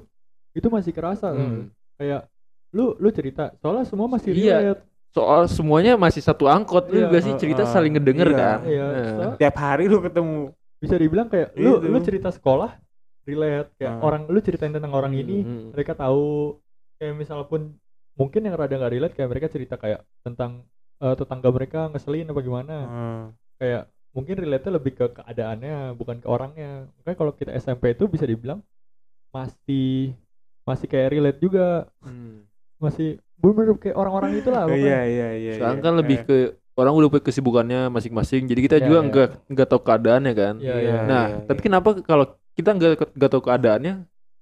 B: itu masih kerasa tau
A: Hmm.
B: nggak? kayak lu lu cerita soalnya semua masih
A: Iya.
B: relate
A: soal semuanya masih satu angkot lu
B: Iya.
A: juga sih cerita
C: Heeh.
A: saling ngedenger
C: Iya.
A: kan
B: Iya,
A: Nah.
B: soalnya
C: tiap hari lu ketemu
B: bisa dibilang kayak lu
C: Gitu.
B: lu cerita sekolah relate kayak
C: Ah.
B: orang lu ceritain tentang orang ini
A: Hmm.
B: mereka tahu kayak misal pun mungkin yang rada nggak relate kayak mereka cerita kayak tentang eh, tetangga mereka ngeselin apa gimana
C: Hmm.
B: kayak mungkin relate lebih ke keadaannya bukan ke orangnya makanya kalau kita SMP itu bisa dibilang masih masih kayak relate juga
A: Hmm.
B: masih bener-bener kayak orang-orang itulah
C: iya
B: pokoknya
C: iya iya
A: sekarang
C: iya.
A: kan lebih
C: Eh,
A: ke orang udah punya kesibukannya masing-masing jadi kita
B: Iya,
A: juga
B: iya.
A: nggak nggak tahu keadaannya kan
B: Iya,
C: iya,
A: nah
C: iya,
A: tapi
C: iya.
A: kenapa kalau kita nggak nggak tahu keadaannya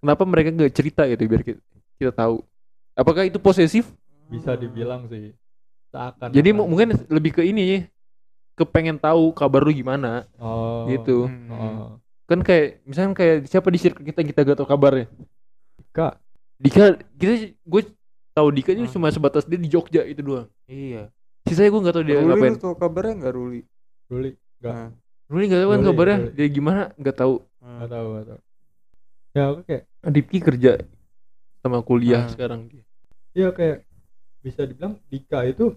A: kenapa mereka nggak cerita gitu biar kita, kita tahu apakah itu posesif
B: bisa dibilang sih seakan
A: jadi mu- mungkin
B: gitu.
A: lebih ke ini kepengen tahu kabar lu gimana
B: oh,
A: gitu
C: Hmm.
B: oh.
A: kan kayak misalnya kayak siapa di circle kita kita gak tahu kabarnya
B: Dika.
A: Dika kita gue tahu Dika itu
C: Hmm.
A: cuma sebatas dia di Jogja itu doang
C: Iya.
A: sisanya gue gak tahu dia
C: Ruli
A: ngapain
C: lu tau kabarnya nggak Ruli?
B: Ruli Nggak.
C: Nah,
A: Ruli gak tahu kan
B: Ruli,
A: kabarnya
B: Ruli.
A: dia gimana gak tahu
C: hmm.
B: nggak tahu nggak tahu ya oke kayak
A: Rifki kerja sama kuliah
C: Ah.
A: sekarang
B: ya kayak bisa dibilang Dika itu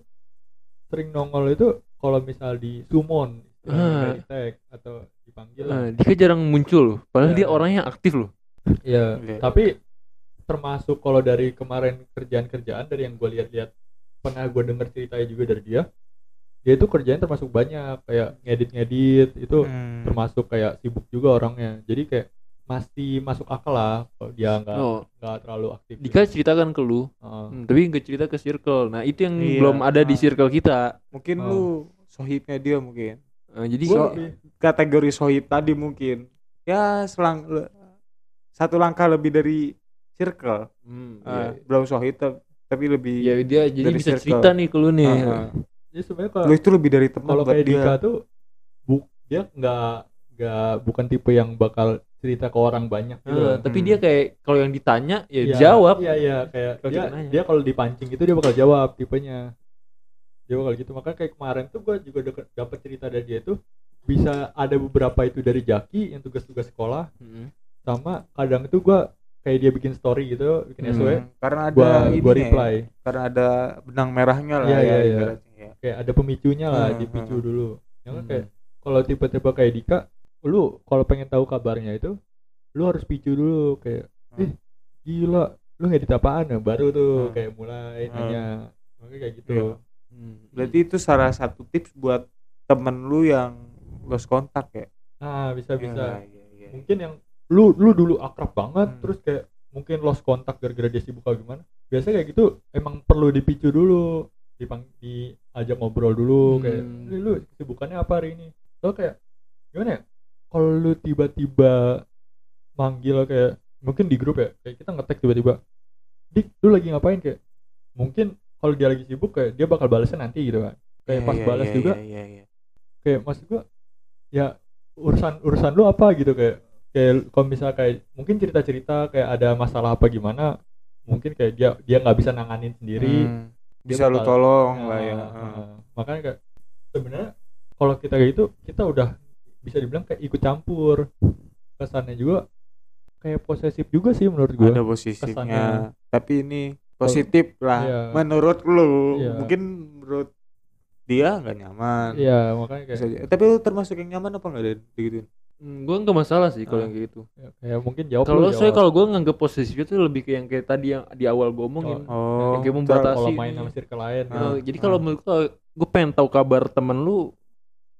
B: sering nongol itu kalau misal di summon
A: Ah.
B: di tag atau dipanggil lah.
A: Nah, Dika jarang muncul loh. Padahal
B: Ya.
A: dia orangnya aktif loh.
B: ya
C: Iya.
B: tapi termasuk kalau dari kemarin kerjaan-kerjaan dari yang gue lihat-lihat pernah gue denger ceritanya juga dari dia dia itu kerjanya termasuk banyak kayak ngedit-ngedit itu
C: Hmm.
B: termasuk kayak sibuk juga orangnya jadi kayak masih masuk akal lah kalau dia
C: Ah.
B: nggak
A: Oh,
B: nggak terlalu aktif gitu.
A: Dika ceritakan ke lu,
B: Heeh.
A: hmm, tapi nggak cerita ke circle. Nah, itu yang
C: Iya.
A: belum ada di
C: Ah.
A: circle kita.
C: Mungkin
B: Oh.
C: lu sohibnya dia mungkin.
A: Eh, jadi
B: Gua
A: so-
B: lebih-
C: Kategori sohib tadi mungkin. Ya selang le- satu langkah lebih dari circle.
A: Hmm,
C: Ah, belum sohib tep- tapi lebih
A: iya. Ya, dia jadi
C: Dari
A: bisa
C: circle.
A: cerita nih ke lu nih.
C: Ah,
B: jadi sebenarnya
C: ah.
A: iya.
B: kalau
C: Lu itu lebih dari teman
B: kalau
C: buat
B: kayak Dika
C: dia.
B: tuh bu- dia nggak nggak bukan tipe yang bakal cerita ke orang banyak gitu
A: Ah,
B: loh.
A: tapi
C: Hmm.
A: dia kayak kalau yang ditanya ya,
B: Iya,
A: jawab.
B: iya iya kayak
A: Kalau
B: dia,
A: kita
C: ya?
A: nanya.
B: dia kalau dipancing itu dia bakal jawab tipenya dia bakal gitu makanya kayak kemarin tuh gue juga deket- dapet cerita dari dia tuh bisa ada beberapa itu dari Jaki yang tugas-tugas sekolah
A: Hmm.
B: sama kadang itu gue kayak dia bikin story gitu bikin SW
C: Hmm, Karena ada
B: gue gue
C: ininya ya,
B: reply
C: karena ada benang merahnya lah
B: Iya,
C: ya,
B: iya, iya.
C: ibaratnya ya.
B: kayak ada pemicunya lah
C: Hmm,
B: dipicu
C: hmm.
B: dulu jangan
A: Hmm.
B: kayak kalau tipe-tipe kayak Dika lu kalau pengen tahu kabarnya itu lu harus picu dulu kayak ih gila lu ngedit apaan ya baru tuh
C: Hmm.
B: kayak mulai
C: Hmm.
B: nanya makanya kayak gitu
C: Iya.
A: Hmm.
C: Berarti itu salah satu tips buat temen lu yang lost kontak ya.
B: ah bisa bisa
C: Ya, iya, iya.
B: mungkin yang lu lu dulu akrab banget
C: Hmm.
B: terus kayak mungkin lost kontak gara-gara dia sibuk atau gimana biasanya kayak gitu emang perlu dipicu dulu dipang diajak ngobrol dulu kayak
A: Hmm.
B: "Li, lu kesibukannya apa hari ini lo kayak gimana ya kalau lu tiba-tiba manggil kayak mungkin di grup ya kayak kita ngetek tiba-tiba dik lu lagi ngapain kayak mungkin kalau dia lagi sibuk kayak dia bakal balesnya nanti gitu kan kayak
C: Iya,
B: pas
C: iya,
B: balas
C: iya,
B: juga
C: iya, iya.
B: kayak maksud gua ya urusan urusan lu apa gitu kayak kayak kalau misal kayak mungkin cerita cerita kayak ada masalah apa gimana mungkin kayak dia dia nggak bisa nanganin sendiri
C: Hmm. bisa lu
B: bakal-
C: tolong lah ya.
B: Nah, makanya kayak sebenarnya kalau kita kayak gitu kita udah bisa dibilang kayak ikut campur kesannya juga kayak posesif juga sih menurut
C: Heeh.
B: gue
C: Ada posisinya.
B: kesannya.
C: Tapi ini positif lah
B: Iya.
C: menurut lu.
B: Iya.
C: Mungkin menurut dia nggak nyaman.
B: iya makanya kayak
C: Bisa aja. Tapi lu termasuk yang nyaman apa enggak dari digituin?
A: Hmm, gue nggak masalah sih kalau
C: Ah.
A: yang kayak gitu.
B: ya, kayak mungkin jawab lu,
A: Kalau saya
B: jawab.
A: kalau gue nganggap posesif itu lebih ke yang kayak tadi yang di awal gue omongin.
C: Oh.
A: Kayak membatasi.
B: kalau
A: sih
B: main
A: ini.
B: sama circle lain
A: Gitu.
B: gitu.
C: Ah.
A: Jadi kalau menurut gue, gue pengen tahu kabar temen lu,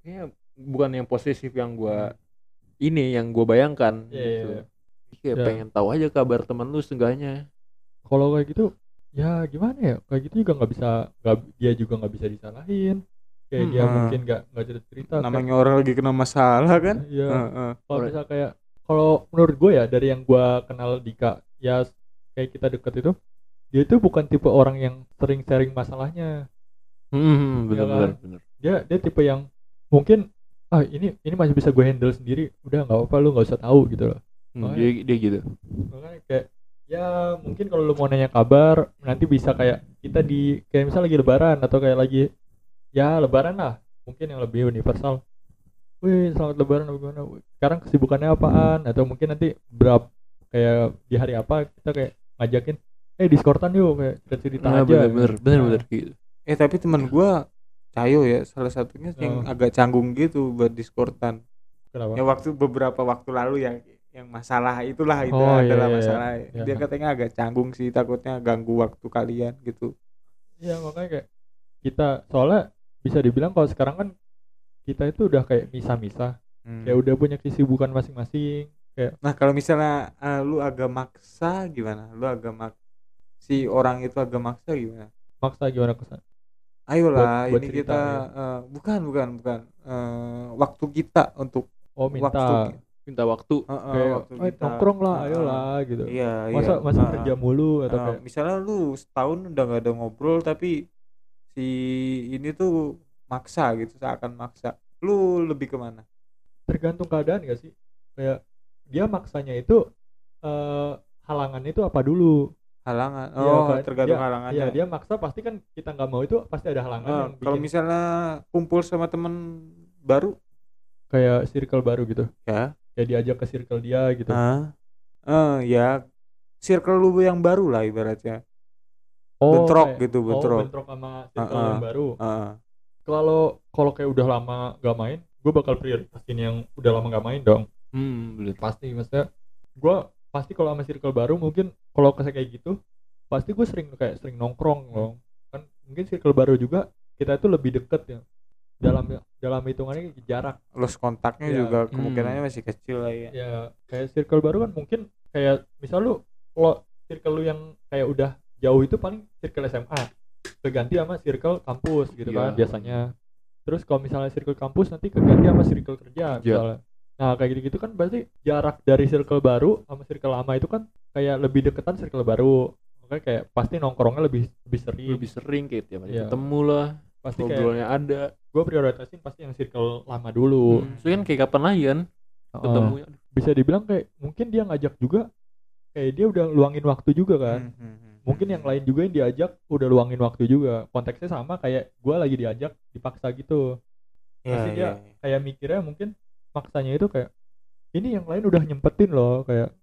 A: ya bukan yang posesif yang gue ini yang gue bayangkan. gitu.
B: Iya, iya, iya.
A: Jadi kayak
B: Ya.
A: pengen tahu aja kabar temen lu seenggaknya.
B: kalau kayak gitu ya gimana ya kayak gitu juga nggak bisa nggak dia juga nggak bisa disalahin kayak
A: Hmm.
B: dia
C: Ah.
B: mungkin nggak nggak cerita cerita
C: Namanya orang lagi kena masalah kan?
B: iya
C: Heeh.
B: kalau
A: Alright.
B: misal kayak kalau menurut gue ya dari yang gue kenal Dika ya kayak kita deket itu dia itu bukan tipe orang yang sering sharing masalahnya
A: Hmm, bener,
B: bener, bener,
A: bener,
B: dia dia tipe yang mungkin ah ini ini masih bisa gue handle sendiri udah nggak apa-apa lu nggak usah tahu gitu loh Oh,
A: dia, dia gitu.
B: makanya kayak ya mungkin kalau lu mau nanya kabar nanti bisa kayak kita di kayak misal lagi lebaran atau kayak lagi ya lebaran lah mungkin yang lebih universal wih selamat lebaran apa gimana Wih, sekarang kesibukannya apaan atau mungkin nanti berapa kayak di hari apa kita kayak ngajakin eh diskortan yuk kayak cerita cerita
A: Nah,
B: aja
A: bener, bener, bener,
B: Nah,
A: bener, gitu.
C: Eh tapi teman gua Cayo ya salah satunya yang
B: Oh.
C: agak canggung gitu buat diskortan.
B: kenapa
C: Ya waktu beberapa waktu lalu yang yang masalah itulah itu
B: Oh, iya,
C: adalah
B: iya,
C: masalah.
B: iya.
C: Dia katanya agak canggung sih takutnya ganggu waktu kalian gitu.
B: ya makanya kayak kita soalnya bisa dibilang kalau sekarang kan kita itu udah kayak misah-misah
C: Hmm.
B: kayak udah punya kesibukan masing-masing
C: Nah kalau misalnya eh, lu agak maksa gimana? Lu agak mak si orang itu agak maksa gimana?
B: maksa gimana kesan
C: Ayolah
B: Buat- buat
C: ini
B: cerita,
C: kita
B: ya.
C: eh, bukan bukan bukan Eh, waktu kita untuk
B: oh
C: waktu
B: minta
A: Minta waktu.
C: eh, eh,
B: kayak
C: waktu
B: "Eh,
C: kita.
B: nongkrong lah
C: Ah,
B: ayolah gitu
C: Iya iya.
B: masa masa
C: Ah,
B: kerja mulu atau
C: ah,
B: kayak
C: misalnya lu setahun udah gak ada ngobrol tapi si ini tuh maksa gitu seakan maksa. Lu lebih kemana?
B: tergantung keadaan gak sih kayak dia maksanya itu eh halangan itu apa dulu
C: Halangan.
B: Iya,
C: Oh
B: kan.
C: tergantung
B: Dia-
C: halangannya.
B: Iya dia maksa pasti kan kita nggak mau itu pasti ada halangan
C: Eh,
B: yang
C: kalau
B: bikin
C: misalnya kumpul sama temen baru
B: kayak circle baru gitu
C: ya
B: kayak diajak ke circle dia gitu
C: Ah, eh, ya circle lu yang baru lah ibaratnya. bentrok
B: kayak-
C: gitu,
B: oh,
C: bentrok.
B: sama circle
C: Ah,
B: yang baru
C: Heeh.
B: kalau kalau kayak udah lama gak main gue bakal prioritasin yang udah lama gak main dong
A: Hmm, bener.
B: pasti maksudnya gue pasti kalau sama circle baru mungkin kalau kayak kayak gitu pasti gue sering kayak sering nongkrong loh kan mungkin circle baru juga kita itu lebih deket ya dalam dalam hitungannya jarak
C: Lost kontaknya
B: Iya.
C: juga
A: Hmm.
C: kemungkinannya masih kecil lah ya.
B: ya kayak circle baru kan mungkin kayak misal lu lo circle lu yang kayak udah jauh itu paling circle SMA keganti sama circle kampus gitu
A: Iya.
B: kan biasanya terus kalau misalnya circle kampus nanti keganti sama circle
A: Kerja.
B: kerja misalnya nah kayak gitu gitu kan berarti jarak dari circle baru sama circle lama itu kan kayak lebih deketan circle baru makanya kayak pasti nongkrongnya lebih lebih sering
A: Lebih sering kayak tiap hari
B: Iya.
A: ketemu lah,
B: pasti kayak
A: obrolannya ada.
B: gue prioritasin pasti yang circle lama dulu
C: Hmm.
A: Soalnya kan kayak kapan lagi kan
B: Heeh.
A: ketemunya.
B: bisa dibilang kayak mungkin dia ngajak juga kayak dia udah luangin waktu juga kan
C: Hmm, hmm, hmm.
B: mungkin yang lain juga yang diajak udah luangin waktu juga konteksnya sama kayak gua lagi diajak dipaksa gitu
C: Iya,
B: pasti
C: iya,
B: dia- kayak mikirnya mungkin maksanya itu kayak ini yang lain udah nyempetin loh kayak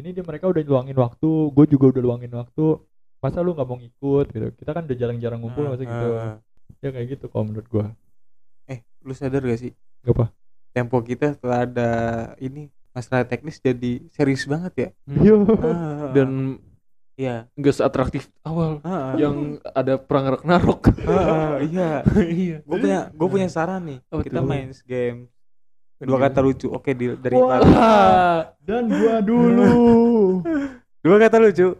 B: ini dia mereka udah luangin waktu gue juga udah luangin waktu masa lu nggak mau ngikut gitu kita kan udah jarang-jarang ngumpul
C: Ah,
B: masa
C: ah,
B: gitu
C: ah.
B: ya kayak gitu kalau menurut gua
C: Eh, lu sadar gak sih?
B: gak apa
C: Tempo kita setelah ada ini masalah teknis jadi serius banget ya.
B: Yo.
C: Ah,
A: Dan
C: iya.
A: nggak seatraktif awal
C: Ah, ah.
A: yang ada perang Ragnarok.
C: Ah, ah, iya.
A: iya.
C: Gue punya gue punya saran nih.
A: Apa
C: kita
A: tuh?
C: main game dua kata lucu. Oke, di, dari
B: Wah.
C: Ipan.
B: dan gua dulu
C: Dua kata lucu.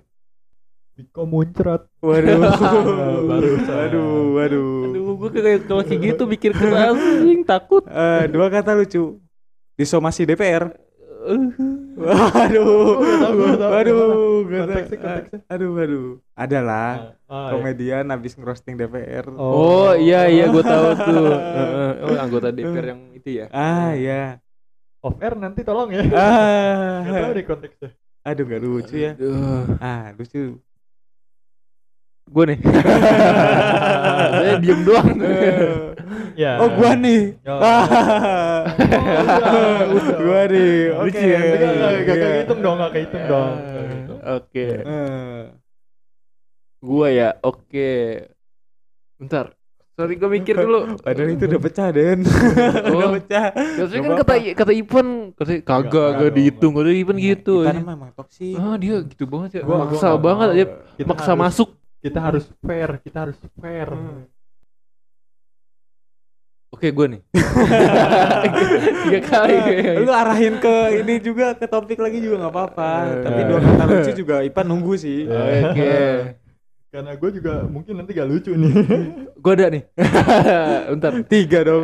B: Diko muncrat
C: Waduh.
B: Baru.
C: Waduh, waduh.
A: Aduh, gue kayak kalau kayak gitu mikir keras, anjing takut.
C: Eh, dua kata lucu. Disomasi DPR.
B: Oh, gua tahu, gua
C: Waduh.
B: tahu.
C: Waduh, gua tahu.
B: konteksnya konteksnya
C: Aduh, waduh. Adalah
B: Ah, iya.
C: komedian habis ngerosting DPR.
A: Oh, iya iya gue tahu tuh. Heeh. Oh, anggota DPR yang itu ya.
C: Ah, ya.
B: off air nanti tolong ya Gak tahu
C: Ah.
B: deh konteksnya
C: Aduh, gak ya. lucu ya.
A: Aduh.
C: Ah, lucu.
A: gue nih saya diem doang
B: ya
C: oh gua nih Ah.
B: Ya.
C: gua nih oke
A: Lucu ya?
B: Enggak, enggak, enggak
C: Iya.
B: kehitung dong, enggak kehitung dong. Enggak
C: Iya.
B: kehitung.
A: oke
C: Eh.
A: gue ya oke bentar sorry gue mikir dulu
C: padahal itu udah pecah Den udah
A: Oh.
C: pecah
A: Biasanya
C: Gak
A: kan kata kata Ipan kata kagak
B: enggak
A: gak
B: dong,
A: dihitung kata Ipan gitu.
C: kita
A: aja.
C: emang emang toksik
A: Ah dia gitu banget ya.
B: Iya, Gua-
A: maksa
B: gua gak
A: banget
B: mau.
A: aja
B: Kita
A: maksa
B: harus-
A: masuk.
B: Kita harus fair, kita harus fair.
C: Hmm.
A: Oke gue nih. Tiga kali.
C: Ah. lu arahin ke ini juga ke topik lagi juga nggak apa-apa tapi dua kata lucu juga Ipan nunggu sih
A: Oke.
B: Karena gue juga mungkin nanti gak lucu nih.
A: Gue ada nih. Bentar.
C: tiga dong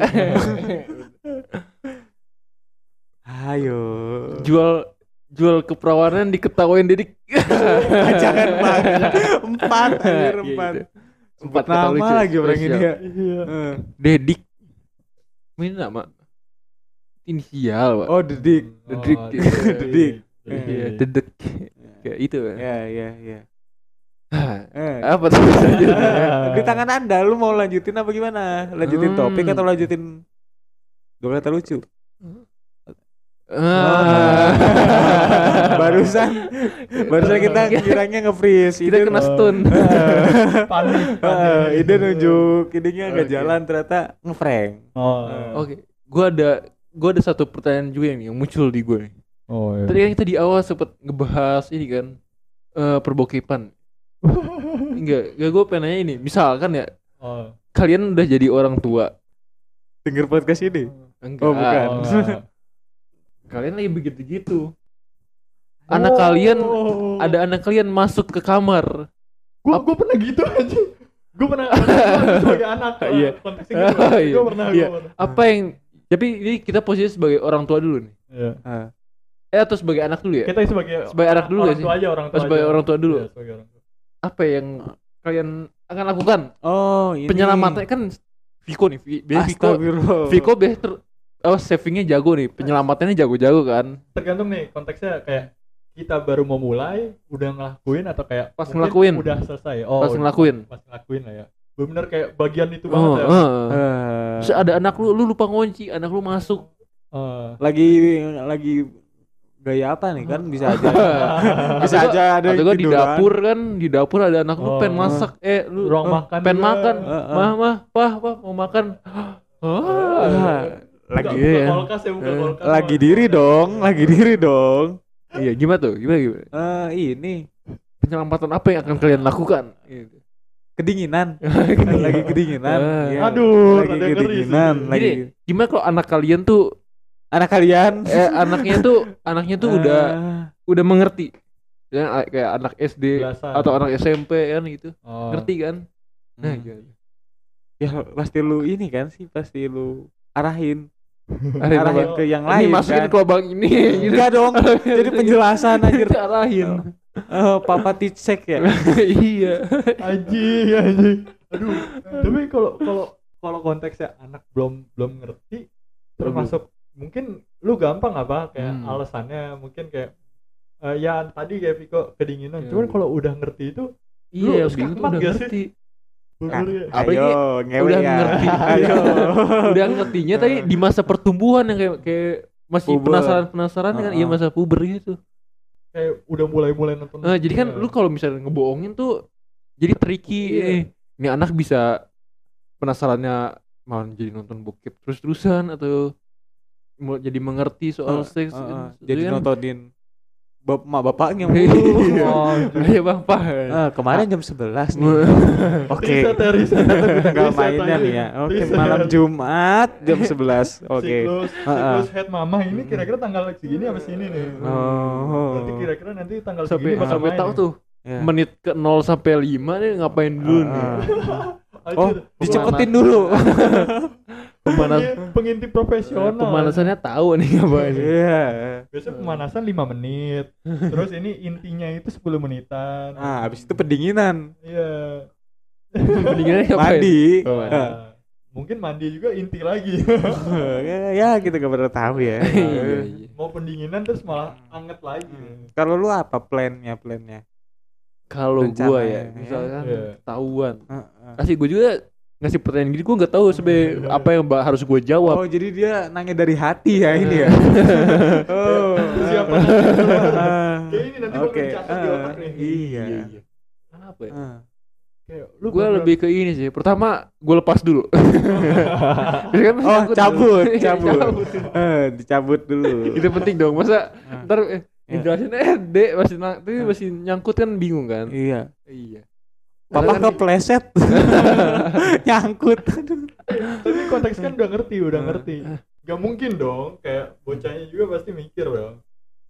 C: ayo
A: Jual jual keperawanan diketawain Dedik.
C: jangan empat empat anjir
A: Iya,
C: empat
A: gitu.
C: empat
A: Empat kata
C: nama
A: lucu.
C: lagi orang ini ya
B: Iya.
C: Eh.
A: Dedik. Ini nama inisial, Pak.
C: oh dedik
A: Dedik.
C: Dedik.
A: Iya, Dedek. Kayak itu. Ya.
C: ya ya ya Eh,
A: Apa tuh?
C: di tangan anda lu mau lanjutin apa gimana lanjutin
A: Hmm.
C: topik atau lanjutin dua kata lucu
A: Ah.
C: barusan barusan kita kiranya nge-freeze
A: kita
C: Ide-
A: kena stun
B: Panik.
C: Eh,
B: panik.
C: Ah. ide nunjuk idenya nggak
A: Oke.
C: jalan ternyata ngefrank
B: Oh.
A: oke gua ada gua ada satu pertanyaan juga nih yang muncul di gue nih
B: Oh, iya.
A: tadi kan kita di awal sempet ngebahas ini kan eh perbokipan enggak enggak gue pengen nanya ini misalkan ya
B: Oh.
A: kalian udah jadi orang tua
C: denger podcast ini
A: enggak
C: Oh, bukan.
B: Oh, enggak.
A: kalian lagi begitu gitu anak kalian
B: Oh.
A: ada anak kalian masuk ke kamar
B: gua gua pernah gitu aja gua pernah gua sebagai anak gua
A: Iya.
B: konteksnya gitu gua
A: Iya.
B: pernah
A: Iya.
B: gua pernah
A: apa yang tapi ini kita posisi sebagai orang tua dulu nih
B: Iya.
C: Ah.
A: eh atau sebagai anak dulu ya
B: kita sebagai
A: Sebagai anak dulu
B: orang
A: gak sih? Oh,
B: tua aja orang tua
A: Sebagai
B: aja.
A: orang tua dulu.
B: Iya, sebagai orang tua.
A: apa yang kalian akan lakukan
C: oh ini
A: penyelamatan kan Viko nih Vi- biasanya Viko
C: Astagfirullah.
A: Viko biasanya ter oh, savingnya jago nih penyelamatannya jago-jago kan
B: tergantung nih konteksnya kayak kita baru mau mulai udah ngelakuin atau kayak
A: Pas
B: mungkin
A: ngelakuin.
B: udah selesai oh
A: pas ngelakuin
B: pas ngelakuin lah ya bener kayak bagian itu banget
A: oh,
B: ya
A: heeh.
C: Eh,
A: Terus ada anak lu lu lupa ngunci anak lu masuk
B: Eh,
C: lagi lagi gaya apa nih kan bisa aja
A: Atau gua-
C: bisa aja ada
A: atau
C: yang
A: gua di
C: tiduran. Eh,
A: dapur kan di dapur ada anak lu
B: Oh,
A: pengen
B: ah.
A: masak eh lu
B: ruang
A: eh,
B: makan
A: pengen
B: juga.
A: makan
C: Eh, eh.
A: mah mah pah pah mau makan Ah.
C: Ah,
B: Buka-
C: lagi
B: buka
A: iya.
B: kulkas ya buka
A: Eh,
B: kulkas ya.
C: lagi
B: Buka
C: diri
B: kulkas.
C: dong lagi diri dong
A: iya gimana tuh gimana, gimana
C: Eh, ini
A: penyelamatan apa yang akan kalian lakukan Gitu.
C: kedinginan
A: Iya.
C: lagi kedinginan
A: Ah.
C: Iya.
B: Aduh,
C: lagi
B: rada ngeri
C: kedinginan
B: sih.
C: lagi
A: Gini, gimana kalau anak kalian tuh
C: anak kalian Eh.
A: eh anaknya tuh anaknya tuh udah udah mengerti ya kayak anak SD
B: Biasa.
A: atau anak SMP kan gitu
B: Oh.
A: ngerti kan nah
C: Hmm.
A: gitu.
C: ya pasti lu ini kan sih pasti lu arahin
A: Arahin
C: arahin
B: apa?
C: ke yang
A: ini
C: lain
A: masukin
C: kan
A: ke lubang ini gitu
C: enggak dong jadi penjelasan anjir
A: arahin
C: Eh, papa ticek ya
A: iya
B: anjing anjing aduh tapi kalau kalau kalau konteksnya anak belum belum ngerti termasuk mungkin lu gampang apa kayak
A: Hmm.
B: alasannya mungkin kayak eh, ya tadi kayak Viko kedinginan
A: Ya.
B: cuman kalau udah ngerti itu
A: iya yang bingung tuh
B: skakmat
A: udah
B: gak sih?
A: ngerti
C: Nah.
B: bener ya
A: Apalagi
C: ayo ngewe
A: udah
C: ya
A: ngerti. Iya.
C: ayo
A: udah ngertinya tadi di masa pertumbuhan yang kayak kayak masih
C: Nah. Puber.
A: penasaran penasaran kan iya
C: Uh-uh.
A: masa puber gitu
B: kayak udah mulai mulai nonton
A: Eh, jadi kan
C: Iya.
B: Ya.
A: lu kalau misalnya ngebohongin tuh jadi tricky
B: Iya.
A: eh. ini anak bisa penasarannya malah jadi nonton bokep terus terusan atau mau jadi mengerti soal
C: Eh,
A: seks
C: eh, eh,
A: kan.
C: jadi
A: kan-
C: nontonin bap mak bapaknya
A: Iya.
C: Oh,
A: Iya bang pak.
C: eh, kemarin jam 11 nih oke
B: Riset ya, riset.
C: tanggal
B: Riset
C: mainnya
B: lagi.
C: nih ya oke
B: Riset.
C: malam Jumat jam 11 oke
B: siklus
C: Ah, ah.
B: siklus head mama ini kira-kira tanggal segini apa sini nih
C: Oh.
B: berarti kira-kira nanti tanggal
A: sampai
B: segini bakal
A: sampai
B: main
A: tahu
B: nih.
A: tuh
C: Ya.
A: menit ke 0 sampai 5 nih ngapain dulu nih.
C: Ah.
B: Anjir,
C: oh
B: pemana-
C: dicepetin dulu
A: Pemanas
B: Iya, pengintip profesional
A: pemanasannya tahu nih ngapain.
C: Iya.
B: Biasanya pemanasan 5 menit. Terus ini intinya itu 10 menitan.
C: Nah, habis itu pendinginan,
B: Iya.
A: Mendingan ngapain?
C: mandi.
A: Oh, mandi.
C: Eh,
B: Nah, mungkin mandi juga inti lagi.
C: eh, ya kita gak pernah tahu ya.
A: Iya,
C: Eh,
A: iya.
C: Hmm.
B: Mau pendinginan terus malah anget lagi.
C: Kalau lu apa plannya, plannya?
A: kalau gua ya
C: Rencananya, ya.
A: misalkan
B: Iya.
A: ketahuan
C: Heeh.
A: kasih gua juga ngasih pertanyaan gini gua nggak tahu sebenarnya apa yang ba- harus gua jawab
C: Oh jadi dia nanya dari hati ya ini ya. oh.
B: Siapa?
C: Ah.
B: Kayak ini nanti
C: Oke.
B: bakal dicatat di otak
C: Ah,
B: nih.
C: Iya.
A: apa ya?
C: Ah.
B: Kayak lu
A: Gue
B: bener-bener-
A: lebih ke ini sih. Pertama, gue lepas dulu. Biasanya kan masih
C: Oh
A: takut
C: cabut,
A: dulu.
C: cabut. Eh, dicabut dulu.
A: Itu penting dong. Masa
C: Ah.
A: ntar eh,
C: Iya.
A: dijelasin eh dek masih nang, tapi
C: Ah.
A: masih nyangkut kan bingung kan?
C: Iya.
A: Iya. Karena
C: Papa
A: kan-
C: kepleset. Nyangkut. Aduh.
B: tapi konteks kan udah ngerti udah
C: Hmm.
B: ngerti gak mungkin dong kayak bocahnya juga pasti mikir oh, dong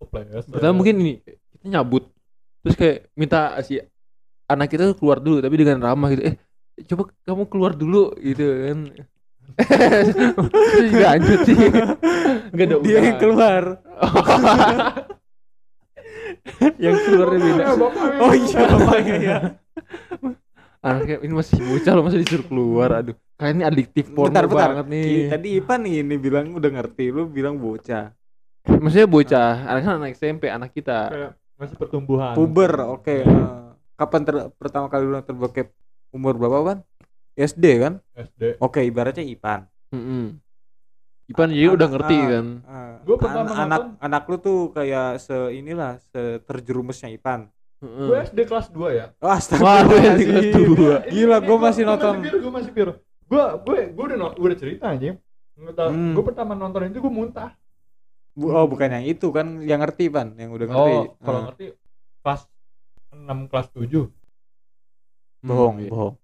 B: Kepleset.
A: Pertama mungkin ini kita nyabut. Terus kayak minta si anak kita keluar dulu tapi dengan ramah gitu. Eh coba kamu keluar dulu gitu kan. Terus juga lanjut sih. Enggak ada
C: Dia yang
A: udahan.
C: keluar.
A: yang keluarnya beda.
B: Eh, bapak, eh,
C: Oh iya, Bapak, iya, iya.
A: Anaknya ini masih bocah loh masa disuruh keluar. Aduh, kalian ini adiktif porno
C: Bentar, bentar.
A: banget nih.
C: Ki, Tadi Ipan ini bilang udah ngerti, lu bilang bocah.
A: Maksudnya bocah, anaknya anak SMP, anak kita.
B: kayak masih pertumbuhan
C: Puber, oke. eh. Kapan ter- pertama kali lu terbokep? Umur berapa, Pan? SD kan?
B: SD
C: Oke, ibaratnya Ipan.
A: Mm-mm. Ipan jadi udah ngerti
C: Ah.
A: kan.
C: Eh,
B: Gua pertama
C: an- anak anak lu tuh kayak se inilah se terjerumusnya Ipan.
A: Mm-mm.
C: Hmm.
B: gue SD kelas 2 ya
C: Oh, iya.
A: Wah, lu yang di kelas dua.
C: Gila, gua masih nonton.
B: gue masih biru gue gue gue udah no- udah cerita aja
C: Hmm.
B: gue pertama nonton itu gue muntah
C: Bu- oh, bukan yang itu kan yang ngerti Pan, yang udah ngerti.
B: oh
C: Ah.
B: kalau ngerti kelas 6 kelas 7
A: Mm.
C: bohong, Hmm, iya. bohong.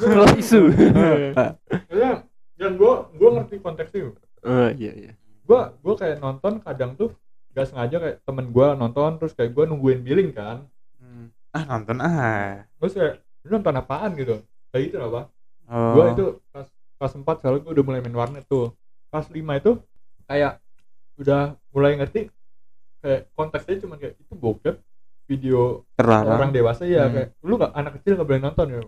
A: Kelas isu.
B: Iya. Maksudnya, dan gue gue ngerti konteksnya
A: Eh, iya iya.
B: gua gua kayak nonton kadang tuh gak sengaja kayak temen gua nonton terus kayak gua nungguin billing kan
C: Hmm. Ah, nonton ah.
B: terus kayak lu nonton apaan gitu kayak gitu lah bah
C: Oh.
B: gua itu pas pas empat soalnya gua udah mulai main warnet tuh pas lima itu kayak udah mulai ngerti kayak konteksnya cuman kayak itu bokep video orang
C: terlarang.
B: dewasa ya
C: Hmm.
B: kayak lu gak anak kecil gak boleh nonton ya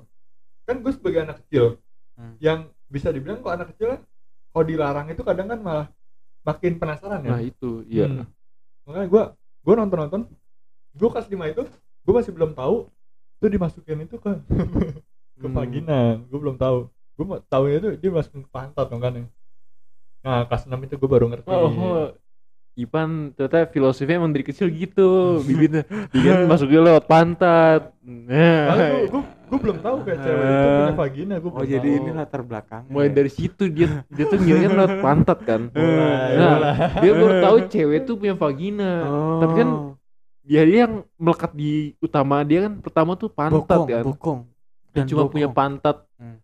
B: kan gue sebagai anak kecil
C: Hmm.
B: yang bisa dibilang kok anak kecil kalau dilarang itu kadang kan malah makin penasaran ya
A: Nah, itu iya.
B: Hmm. Makanya gua gua nonton-nonton gua kelas 5 itu gua masih belum tahu itu dimasukin itu ke ke
C: Hmm.
B: vagina. Gua belum tahu. Gua mau tahunya itu dia masukin ke pantat dong kan. ya. Nah, kelas 6 itu gua baru ngerti.
A: Oh,
C: Iya.
A: oh. Ipan ternyata filosofinya emang dari kecil gitu, bibitnya. Bibit masuknya lewat pantat.
B: Soalnya gua,
A: Nah,
B: gua, gua belum tahu kayak cewek itu punya vagina, gua
C: Oh,
B: belum
C: jadi
B: tahu. Nah,
C: ini latar belakang.
A: mulai dari situ dia dia tuh ngirinya lewat pantat kan.
B: Mulai,
A: Nah,
B: mulai.
A: dia baru tahu cewek tuh punya vagina.
C: Oh.
A: Tapi kan Dia dia yang melekat di utama dia kan pertama tuh pantat
C: bokong,
A: kan.
C: bokong.
A: Dia
C: Dan
A: cuma
C: bokong.
A: punya pantat.
C: Hmm.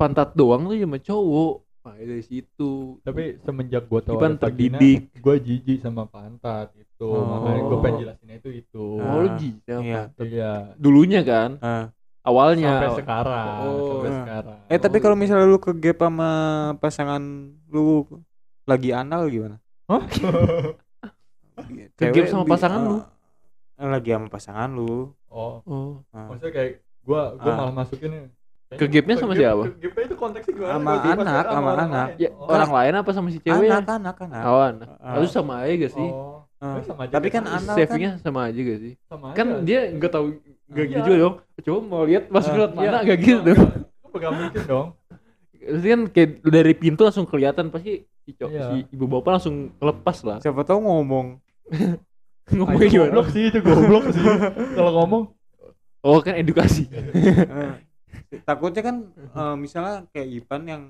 A: Pantat doang tuh cuma cowok. Nah, dari situ.
B: Tapi semenjak gua tahu
A: Ipan
B: ada vagina,
A: terdidik.
B: gua jijik sama pantat itu.
C: Oh.
B: Makanya gua pengen jelasin itu itu.
A: Oh, lu jijik sama
C: Iya.
A: pantat.
B: Iya.
A: Dulunya kan,
C: Ah.
A: awalnya.
B: Sampai sekarang,
A: Oh.
B: sampai
C: Nah.
B: sekarang.
C: Eh tapi
A: Oh.
C: kalau misalnya lu ke gap sama pasangan lu lagi anal gimana?
B: Hah?
A: Ke gap
C: Cewek
A: sama
C: bi-
A: pasangan
C: eh,
A: lu?
C: eh, Lagi sama pasangan lu.
B: Oh,
A: Oh.
C: Ah.
B: maksudnya kayak gua gua
C: Ah.
B: malah masukin
A: Ke gapnya sama siapa?
B: Ke gapnya itu konteksnya gimana?
C: Sama
B: Gua dimasukin
C: anak, sama
B: orang
C: anak.
B: lain.
A: Ya,
B: Oh.
A: orang lain apa sama si cewek?
C: Anak anak anak.
A: Oh, anak.
C: Ah.
A: Lalu sama aja gak sih?
B: Oh.
C: Ah.
B: Eh, sama aja
C: Tapi
B: kayak
C: kan
B: tadi.
C: anak kan
A: Savingnya sama aja gak sih?
B: Sama
A: Kan
B: aja.
A: dia nggak tahu nggak
B: Iya.
A: gitu juga dong. Coba mau lihat masuk
C: Ah.
A: lewat mana
B: Iya.
A: gak gitu dong.
B: Lu pegang mungkin dong.
A: Terus kan kayak dari pintu langsung kelihatan pasti si, co-
B: Iya.
A: si ibu bapak langsung lepas lah.
C: siapa tahu ngomong.
A: Ngomongnya
B: Ah, itu
A: gimana?
B: Goblok sih itu goblok sih. Kalau ngomong
A: Oh kan edukasi.
C: Eh, takutnya kan eh, misalnya kayak Ipan yang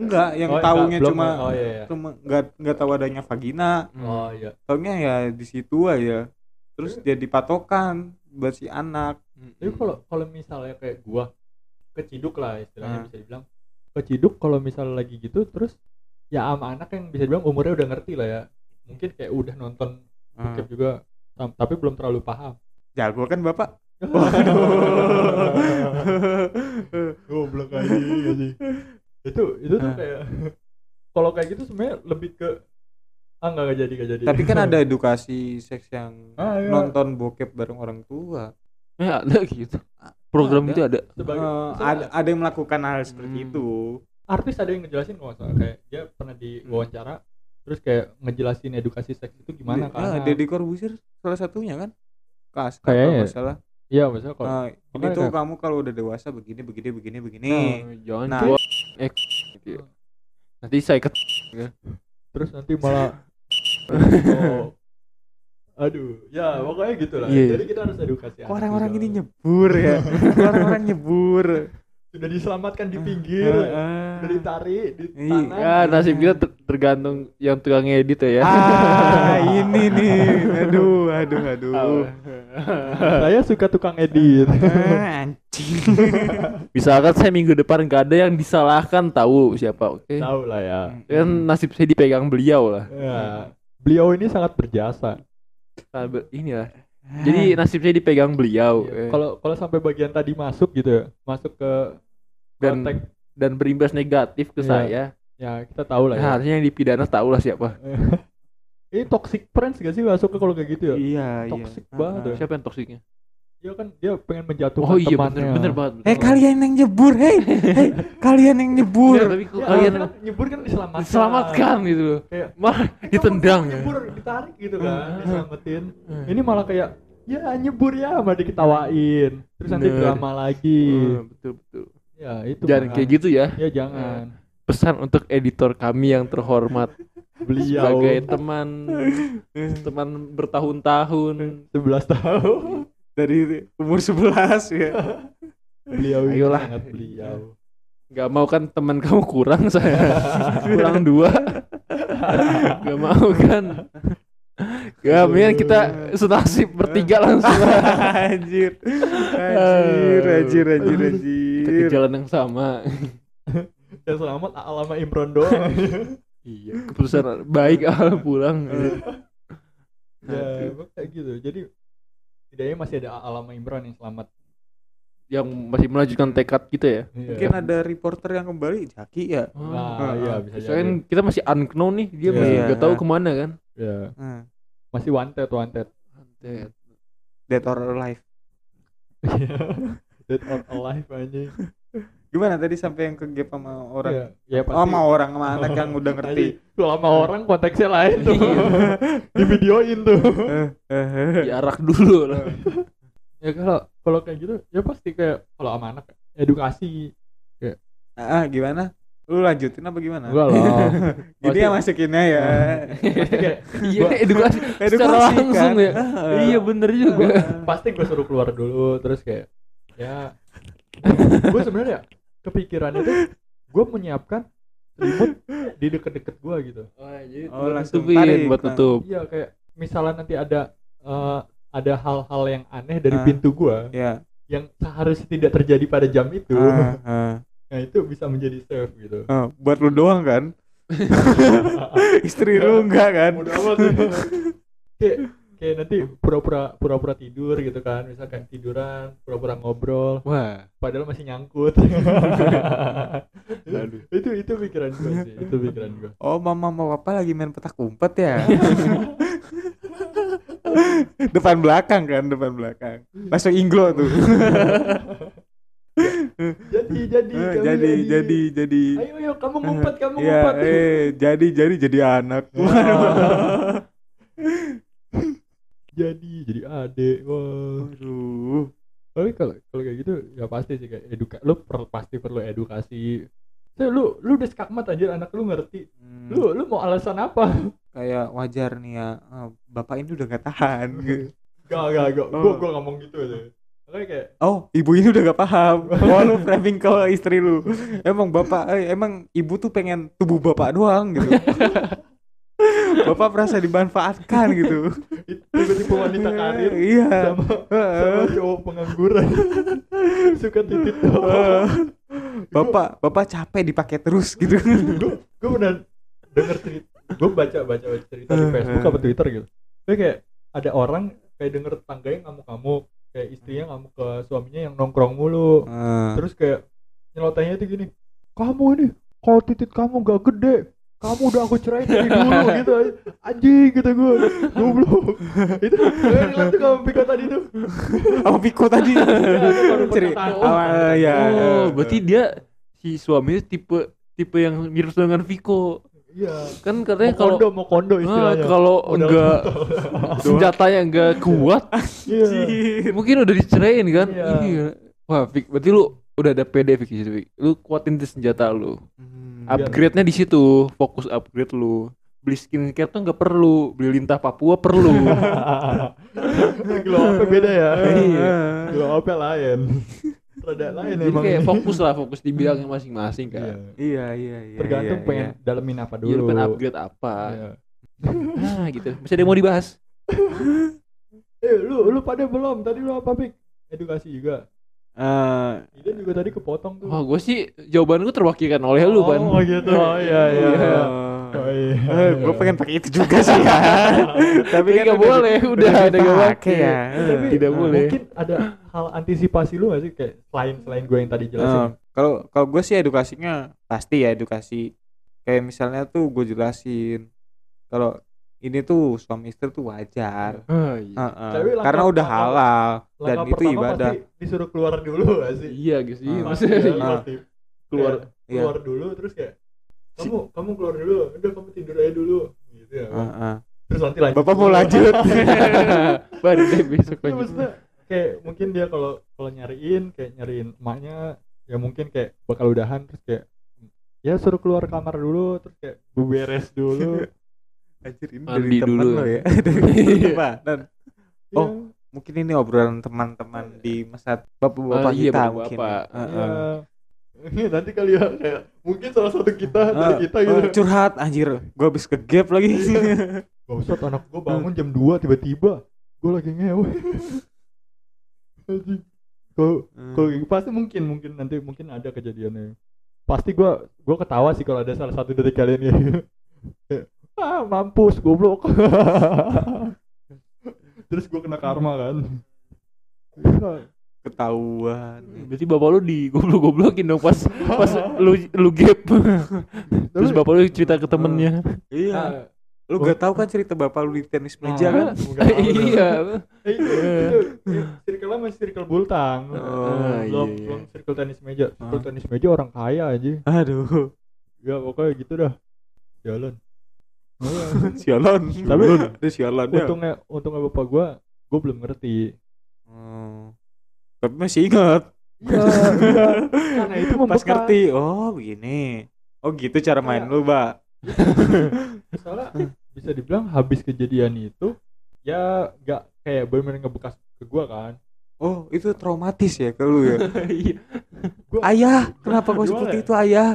C: enggak yang
B: Oh,
C: taunya
B: enggak,
C: cuma Hmm.
B: belum. Oh iya iya.
C: cuma enggak enggak tahu adanya vagina.
A: Hmm.
B: Oh iya.
C: Taunya ya di situ aja. Terus jadi patokan buat si anak.
B: Tapi kalau kalau misalnya kayak gua keciduk lah istilahnya
C: Ah.
B: bisa dibilang. Keciduk kalau misalnya lagi gitu terus ya sama anak yang bisa dibilang umurnya udah ngerti lah ya. Mungkin kayak udah nonton
C: Eh,
B: bokep juga tam- tapi belum terlalu paham.
C: jago kan Bapak?
B: goblok aja iya sih. itu itu tuh
C: Ah.
B: kayak kalau kayak gitu sebenarnya lebih ke ah nggak nggak jadi nggak jadi
C: Tapi kan ada edukasi seks yang
B: Ah, iya.
C: nonton bokep bareng orang tua.
A: Ya ada gitu. Program
C: Ada.
A: itu ada.
B: sebagai
C: Eh,
B: misalnya
C: ada ada yang melakukan hal seperti
A: Hmm.
C: itu.
B: artis ada yang ngejelasin kalau nggak salah kayak dia pernah di
C: Hmm.
B: wawancara terus kayak ngejelasin edukasi seks itu gimana
C: Di-
B: kan
C: ah, Deddy Corbuzier salah satunya kan? kelas
B: Kayaknya.
C: kalau nggak salah.
B: iya maksudnya kalau
C: Nah, ini
B: makanya
C: tuh
B: kayak-
C: kamu kalau udah dewasa begini begini begini begini.
B: Oh, iya,
A: Nah, jangan
C: Nah.
A: gua- eh gitu ya. nanti saya ket
B: terus nanti malah oh, aduh ya pokoknya gitu lah
A: Iya.
B: jadi kita harus edukasi
C: Kok
B: anak
C: orang-orang
B: juga.
C: ini nyebur ya? Kok orang-orang nyebur.
B: sudah diselamatkan
C: Ah,
B: di pinggir
C: Heeh.
B: sudah ditarik di
C: Iya.
B: tangan
A: ya nasib kita ter- tergantung yang tukang edit ya
C: Ah, ini nih. Aduh, aduh, aduh.
B: saya suka tukang
A: Eh.
B: edit
C: Ah, anjing.
A: misalkan kan saya minggu depan nggak ada yang disalahkan tahu siapa oke
B: tahu lah ya
A: kan nasib saya dipegang beliau lah
B: Ya, beliau ini sangat berjasa
A: Nah, be- ini lah
C: Eh,
A: jadi nasib saya dipegang beliau eh.
B: Iya, kalau kalau sampai bagian tadi masuk gitu ya masuk ke
A: Dan-
B: konteks
A: dan berimbas negatif ke
B: Iya.
A: saya
B: ya kita tahu lah
A: nah,
B: ya
A: harusnya yang dipidana tahu lah siapa
B: ini toxic friends gak sih masuk ke kalau kayak gitu ya
C: iya, iya.
B: Toxic banget
C: Ah, ah.
A: siapa yang toksiknya
B: dia kan dia pengen menjatuhkan
A: oh iya
B: temannya
A: bener bener banget bener
C: Eh
A: banget.
C: kalian yang nyebur, hei, hei, kalian yang
A: Oh, iya, Bener,
C: nyebur.
A: tapi kok
B: Ya,
A: kalian
B: kan nyebur kan diselamatkan
A: diselamatkan gitu loh
B: Kayak-
A: malah
B: Kamu
A: ditendang ya
B: nyebur ditarik gitu kan
A: Ah.
B: diselamatin
A: Ah.
B: ini malah kayak ya nyebur ya sama diketawain terus nanti
A: Bener.
B: drama lagi
C: Iya.
A: Hmm, betul betul
B: ya itu
A: jangan kayak gitu ya
B: ya jangan
A: pesan untuk editor kami yang terhormat
B: beliau
A: sebagai teman teman bertahun-tahun
B: 11 tahun
C: Dari umur 11 ya.
B: beliau ini
A: Ayolah.
B: sangat beliau
A: nggak mau kan teman kamu kurang saya kurang dua nggak mau kan ya mendingan kita senasib bertiga langsung
C: anjir. Anjir, anjir, anjir,
A: kita ke
C: anjir.
A: jalan yang sama
B: yang Ya, selamat alama Imron doang
A: iya keputusan baik al pulang
B: ya kayak gitu jadi tidaknya masih ada alama Imron yang selamat
A: yang masih melanjutkan tekad kita ya
C: Mungkin ada reporter yang kembali, Jaki ya.
B: nah,
C: Ah,
B: ya
C: ah.
B: bisa
A: Soalnya kan
B: jadi
A: kita masih unknown nih dia
B: Iya.
A: masih nggak tahu kemana kan
B: ya.
C: Hmm.
B: masih wanted wanted
C: Dead or alive.
B: dead or alive anjing
C: Gimana tadi sampai yang kegep sama orang?
B: ya, ya pasti
C: Oh, sama orang sama anak yang udah ngerti.
B: lama orang konteksnya lain tuh di videoin tuh
C: Eh, Iya.
A: diarak dulu lah
B: ya kalau kalau kayak gitu ya pasti kayak kalau sama anak edukasi
C: Ah, ah, gimana? Lu lanjutin apa gimana?
B: enggak lah
C: Jadi yang masukinnya ya.
B: pasti kayak
A: iya
B: Gua-
A: edukasi secara
C: Edukasi, kan?
A: langsung ya
C: Ah.
A: iya bener juga
B: pasti gue suruh keluar dulu terus kayak ya gue sebenarnya kepikiran itu gue menyiapkan selimut di deket-deket gue gitu
C: Oh, langsung
A: tutupin
C: tarik,
A: buat
C: Bang.
A: tutup
B: iya kayak misalnya nanti ada eh, ada hal-hal yang aneh dari
C: Ah.
B: pintu gue
C: Ya.
B: yang seharusnya tidak terjadi pada jam itu
C: Ah, ah.
B: nah itu bisa menjadi safe gitu
C: Ah, buat lu doang kan? Istri lu enggak kan?
B: Bodo amat ya. kayak kayak nanti pura-pura pura-pura tidur gitu kan misalkan tiduran pura-pura ngobrol
A: wah
B: padahal masih nyangkut itu itu pikiran gue sih itu pikiran gue
C: Oh, mama mau papa lagi main petak umpet ya. depan belakang kan, depan belakang. Langsung inglo tuh.
B: jadi jadi
C: Eh,
B: kamu
C: jadi jadi jadi
B: ayo ayo kamu ngumpet kamu
C: ya,
B: ngumpet
C: eh jadi jadi jadi anak.
A: Ya
C: Waduh.
B: jadi jadi adek wah
C: Waduh.
B: tapi kalau kalau kayak gitu ya pasti sih kayak eduka lu per- pasti perlu edukasi Tuh, lu lu udah skakmat anjir anak lu ngerti
C: Hmm,
B: lu lu mau alasan apa
C: kayak wajar nih ya. eh, Bapak ini udah gak tahan.
B: gak gak gak gua
C: Hmm.
B: gua ngomong gitu aja makanya kayak
C: Oh, ibu ini udah gak paham. Oh, lu framing ke istri lu. Emang bapak, eh, emang ibu tuh pengen tubuh bapak doang gitu. bapak merasa dimanfaatkan gitu.
B: tipe-tipe wanita karir
C: Iya.
B: sama sama
C: Heeh.
B: cowok pengangguran suka titit
C: Heeh. bapak, bapak capek dipakai terus gitu.
B: gue pernah denger cerita gue baca baca baca cerita di
C: Iya.
B: Facebook apa Twitter gitu Tapi kayak ada orang kayak denger tetangganya ngamuk-ngamuk kayak istrinya ngamuk ke suaminya yang nongkrong mulu
C: Eh, Ah.
B: terus kayak nyelotehnya tuh gini kamu ini kalau titik kamu gak gede kamu udah aku cerai dari dulu gitu anjing gitu gue goblok itu gue relate tuh kamu pikir tadi tuh
C: Apa Piko tadi?
B: Iya, baru
C: Cerita.
B: perkataan.
C: Awal
B: Iya,
C: ya.
B: eh,
A: oh berarti dia si suami tipe tipe yang mirip dengan Viko
B: iya
A: kan katanya
B: Mau
A: kalau
B: kondo mau kondo
A: ah,
B: istilahnya
A: kalau
B: Modal
A: enggak
B: kondo.
A: senjatanya enggak kuat
B: iya
A: mungkin udah dicerain kan
B: Iya.
A: iya wah Fik, berarti lu udah ada PD Fik, di situ, Fik. lu kuatin tuh senjata lu
C: Hmm.
B: Ap-
A: upgrade-nya di situ fokus upgrade lu beli skincare tuh nggak perlu beli lintah Papua perlu
B: glow up beda ya
A: Iya.
B: glow up lain rada lain
A: jadi
B: emang
A: kayak
B: ini.
A: fokus lah fokus di bidangnya masing-masing
B: Iya.
A: kan
C: Iya iya iya.
B: tergantung
C: iya,
B: pengen
C: iya.
B: dalemin apa
A: Jadi lu
B: dulu
A: pengen upgrade apa
B: Iya.
A: nah gitu bisa ada yang mau dibahas
B: eh lu lu pada belum tadi lu apa pik edukasi juga
C: Eh,
B: Ida juga tadi kepotong tuh
A: wah gue sih jawaban gue terwakilkan oleh Oh, lu ban
B: oh gitu oh iya iya
A: Iya.
B: Oh, iya.
C: Eh, gue pengen pakai itu juga sih ya. Tapi
A: Tapi
C: kan
A: nggak
C: udah-
A: boleh, udah ada Iya.
C: dipakai
A: nggak pakai.
C: ya.
B: Tapi eh,
A: Tidak boleh.
B: mungkin ada hal antisipasi lu gak sih kayak selain selain gue yang tadi
C: Eh,
B: jelasin
C: Kalau kalau gue sih edukasinya pasti ya edukasi. Kayak misalnya tuh gue jelasin kalau ini tuh suami istri tuh wajar.
A: Ah, iya.
C: Eh, eh,
B: Tapi langkah-
C: karena udah
B: langkah-
C: halal dan
B: Langkah
C: itu
B: pertama
C: ibadah.
B: pasti disuruh keluar dulu gak sih
A: iya gitu sih
C: Ah.
A: maksudnya
B: Iya,
C: Ah.
B: pasti.
A: keluar
B: Kayak
C: Iya.
B: keluar dulu terus kayak kamu kamu keluar dulu udah kamu tidur aja dulu gitu ya
C: Eh, eh.
B: terus nanti lanjut
C: Bapak mau lanjut.
A: baru deh besok
B: Iya,
A: lanjut
B: maksudnya kayak mungkin dia kalau kalau nyariin kayak nyariin emaknya ya mungkin kayak bakal udahan terus kayak ya suruh keluar kamar dulu terus kayak beberes dulu
C: Anjir ini
A: Mandi
C: dari teman
A: dulu.
C: lo ya. Dari teman.
B: oh
C: mungkin ini obrolan teman-teman di masa bapak-bapak
A: Ah, iya,
C: kita
A: bapak-bapak.
C: mungkin. ya. Eh,
B: iya
C: eh.
B: Iya, nanti kali ya kayak mungkin salah satu kita dari
C: Eh,
B: kita
C: eh,
B: gitu Iya.
C: curhat anjir, gue habis ke gap lagi.
B: Bangsat anak gue bangun jam 2 tiba-tiba gue lagi ngewe Anjing. kalau
A: Hmm.
B: kalau kayak gitu, pasti mungkin mungkin nanti mungkin ada kejadiannya pasti gue gue ketawa sih kalau ada salah satu dari kalian ya Kayak, ah mampus goblok terus gue kena karma kan
A: Iya.
C: ketahuan.
A: berarti bapak lu di goblok-goblokin dong pas pas lu lu gap terus bapak lu cerita ke
B: Ah.
A: temennya Ah.
C: Iya, lu gak tahu kan cerita bapak lu di tenis meja
B: Ah.
C: kan?
A: Nah, iya
B: Eh, itu, itu, itu, circle masih circle bultang
C: Oh,
B: belum
A: iya, iya.
B: belum circle tenis meja circle
C: Ah.
B: tenis meja orang kaya aja
C: Aduh,
B: ya pokoknya gitu dah jalan
A: Iya.
C: sialan.
B: Tapi-
C: ada sialan ya.
B: untungnya untungnya bapak gua gua belum ngerti
C: Hmm. Tapi masih ingat.
B: iya karena itu
C: Pas
B: membekas
C: ngerti, oh begini. Oh gitu cara
B: Iya.
C: main lu, Mbak.
B: soalnya
C: Hmm.
B: bisa dibilang habis kejadian itu ya nggak kayak bener-bener ngebekas ke gua kan
C: Oh, itu traumatis ya ke lu ya.
A: iya
C: Ayah, kenapa kau
B: Gimana
C: seperti
B: ya?
C: itu, Ayah?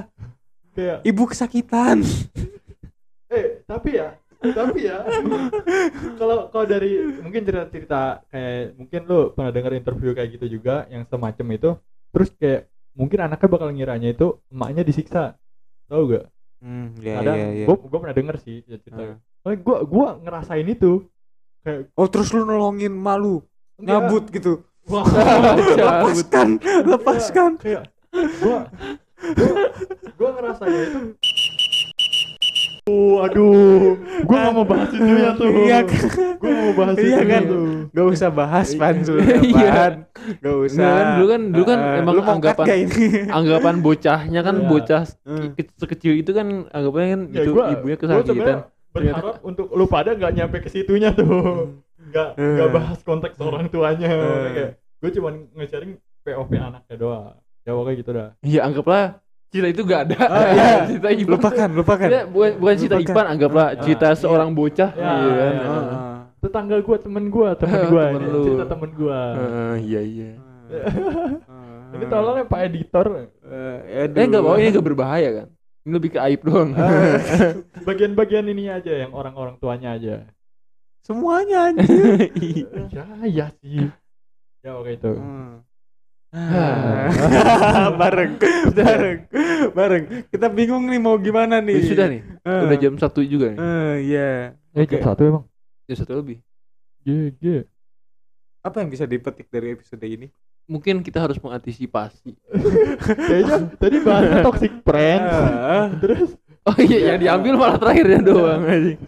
B: kayak
C: Ibu kesakitan.
B: eh tapi ya tapi ya kalau kalau dari mungkin cerita cerita kayak mungkin lu pernah dengar interview kayak gitu juga yang semacam itu terus kayak mungkin anaknya bakal ngiranya itu emaknya disiksa tau gak
C: Hmm, ya
B: kadang
C: ya ya.
B: gua gua pernah denger sih
C: Ah.
B: cerita Soalnya gua gua ngerasain itu kayak
C: Oh, terus lu nolongin malu, nyabut gitu.
B: Wah,
C: lepaskan lepaskan
B: kayak Iya, gua gua, gua ngerasain itu Oh, aduh, gua nggak mau bahas itu ya tuh.
C: iya kan
B: Gua nggak mau bahas
C: Iya
B: itu ya,
C: kan?
B: tuh.
C: gak usah bahas pan
A: Iya.
C: pan gak usah
A: Nggak kan, dulu kan- dulu kan
C: Eh,
A: emang
C: lu mau cut
A: anggapan-
C: nggak ini
A: anggapan bocahnya kan
B: Iya.
A: bocah
C: Eh,
A: ke- sekecil itu kan anggapannya kan
B: Ya,
A: itu
B: gua,
A: ibunya
B: gua sebenarnya
A: kesakitan
B: Berharap untuk lu pada nggak nyampe ke situnya
C: Hmm.
B: tuh. Nggak nggak bahas konteks orang tuanya.
C: Eh.
B: Kayak gua cuman nge-sharing POV anaknya doang. Ya pokoknya gitu dah.
A: iya anggaplah cerita itu gak ada
C: Ah, iya.
A: cerita Ipan
C: lupakan lupakan Eh,
A: Iya, bukan bukan cerita
C: Lupakan.
A: Ipan anggaplah
B: Ah,
A: cerita
C: Kan? iya.
A: seorang bocah
B: Iya,
A: iya kan
B: iya.
A: Heeh.
C: Heeh.
B: Tetangga gua, temen gua, temen gua.
A: Temen
B: ini
A: lu.
B: cerita temen gua.
C: Hmm. Ah,
A: Heeh, iya iya
C: Heeh.
B: Ini tolong ya Pak Editor
C: Eh, aduh. Ah.
A: eh nggak mau ini nggak berbahaya kan ini lebih ke aib doang Ah.
B: bagian-bagian ini aja yang orang-orang tuanya aja.
C: semuanya anjir
B: Ya ya sih. Ya oke itu. Eh,
C: Ah. Hmm. bareng bareng bareng kita bingung nih mau gimana nih
A: Jadi sudah nih
C: Eh,
A: udah jam satu juga nih
C: eh, iya
B: Eh
C: jam
B: satu emang.
A: jam satu lebih
B: Iya iya.
C: apa yang bisa dipetik dari episode ini
A: mungkin kita harus mengantisipasi
B: Kayaknya tadi bahasnya toxic friends.
C: Ah.
B: Terus
A: oh iya yang diambil malah terakhirnya doang anjing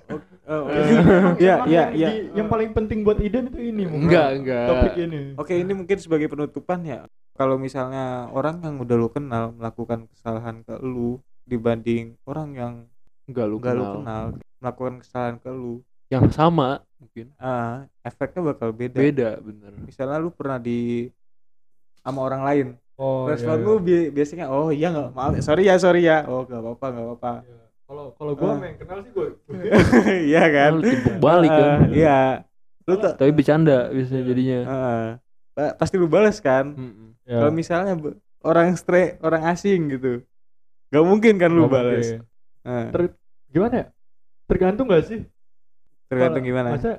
C: Oh,
B: Eh.
C: oke.
B: Emang-
C: Ya,
B: emang
C: ya,
B: yang
C: ya.
B: di- Yang paling penting buat Idan itu ini mungkin.
A: enggak enggak
B: Topik ini.
C: Oke, ini mungkin sebagai penutupan ya. Kalau misalnya orang yang udah lu kenal melakukan kesalahan ke lu dibanding orang yang
A: nggak lu
C: nggak lu
A: kenal.
C: kenal melakukan kesalahan ke lu
A: yang sama mungkin
C: ah efeknya bakal beda.
A: beda bener
C: misalnya lu pernah di sama orang lain
B: oh
C: respon lu bi- biasanya oh iya nggak maaf sorry ya sorry ya oh nggak apa-apa nggak apa-apa
B: Iya. kalau kalau gue
C: Ah.
B: main kenal sih gue
C: iya kan
A: Lu timbuk balik kan
C: Ah, iya lu tuh
A: tapi bercanda biasanya jadinya
C: ah, pa- pasti lu balas kan
A: Mm-mm.
B: Iya. Ya.
C: kalau misalnya be- orang stre orang asing gitu nggak mungkin kan lu balas Ah,
B: Ter- gimana ya tergantung gak sih
C: tergantung
B: Kalau-
C: gimana ya?
B: masa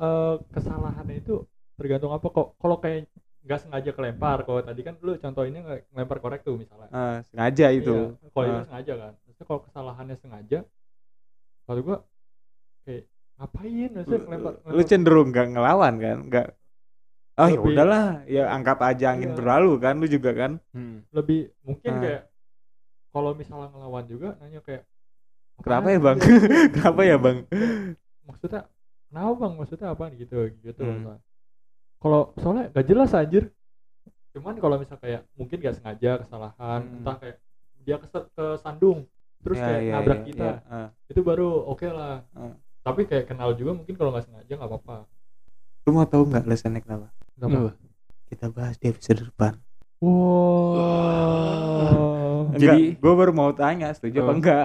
B: eh, kesalahannya itu tergantung apa kok kalau kayak nggak sengaja kelempar kalau tadi kan lu contohnya nge- ngelempar korek tuh misalnya
C: Ah, sengaja itu
B: Iya, kalau itu
C: Ah.
B: sengaja kan maksudnya kalau kesalahannya sengaja kalau gua kayak ngapain maksudnya ngelempar
C: Lu- lu cenderung nggak ngelawan kan nggak oh ya
B: Iya. Lebih-
C: udahlah ya anggap aja angin
B: Iya.
C: berlalu kan lu juga kan
A: Hmm.
B: lebih mungkin
C: Ah.
B: kayak kalau misalnya ngelawan juga nanya kayak
C: Kenapa
B: "Apaan
C: ya, Bang?"
B: sih?" Gitu.
C: Kenapa ya, Bang?
B: maksudnya kenapa bang maksudnya apa gitu gitu
C: Hmm.
B: maksudnya. kalau soalnya gak jelas anjir cuman kalau misal kayak mungkin gak sengaja kesalahan
C: Hmm.
B: entah kayak dia keset kesandung terus
C: Ya,
B: kayak
C: ya,
B: nabrak
C: ya,
B: kita
C: ya, ah.
B: itu baru oke lah
C: Ah.
B: tapi kayak kenal juga mungkin kalau nggak sengaja nggak apa-apa
C: Lu mau tahu nggak alasannya kenapa?
B: Nggak apa-apa.
C: Kita bahas di episode depan.
B: wow
A: Jadi-
C: gue baru mau tanya setuju apa
A: Oh.
C: enggak?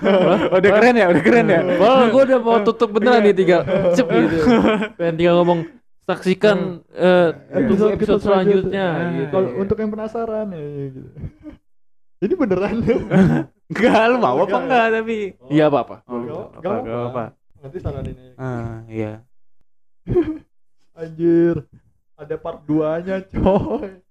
A: Wah,
C: udah keren ya, udah keren ya.
A: Wah, gue udah mau tutup beneran nih tinggal cep gitu. Pengen tinggal ngomong saksikan eh, tunggu episode selanjutnya.
C: Ah, iya.
A: gitu.
B: iya, Nah, kalau untuk yang penasaran ya, gitu. ini beneran
C: Enggak, lu mau apa
B: Enggak.
C: enggak tapi?
A: Iya apa apa.
C: Oh,
B: Enggak,
C: enggak
B: enggak
C: apa, enggak apa.
B: apa-apa. nanti saranin aja
C: Ah, iya.
B: anjir ada part 2 nya coy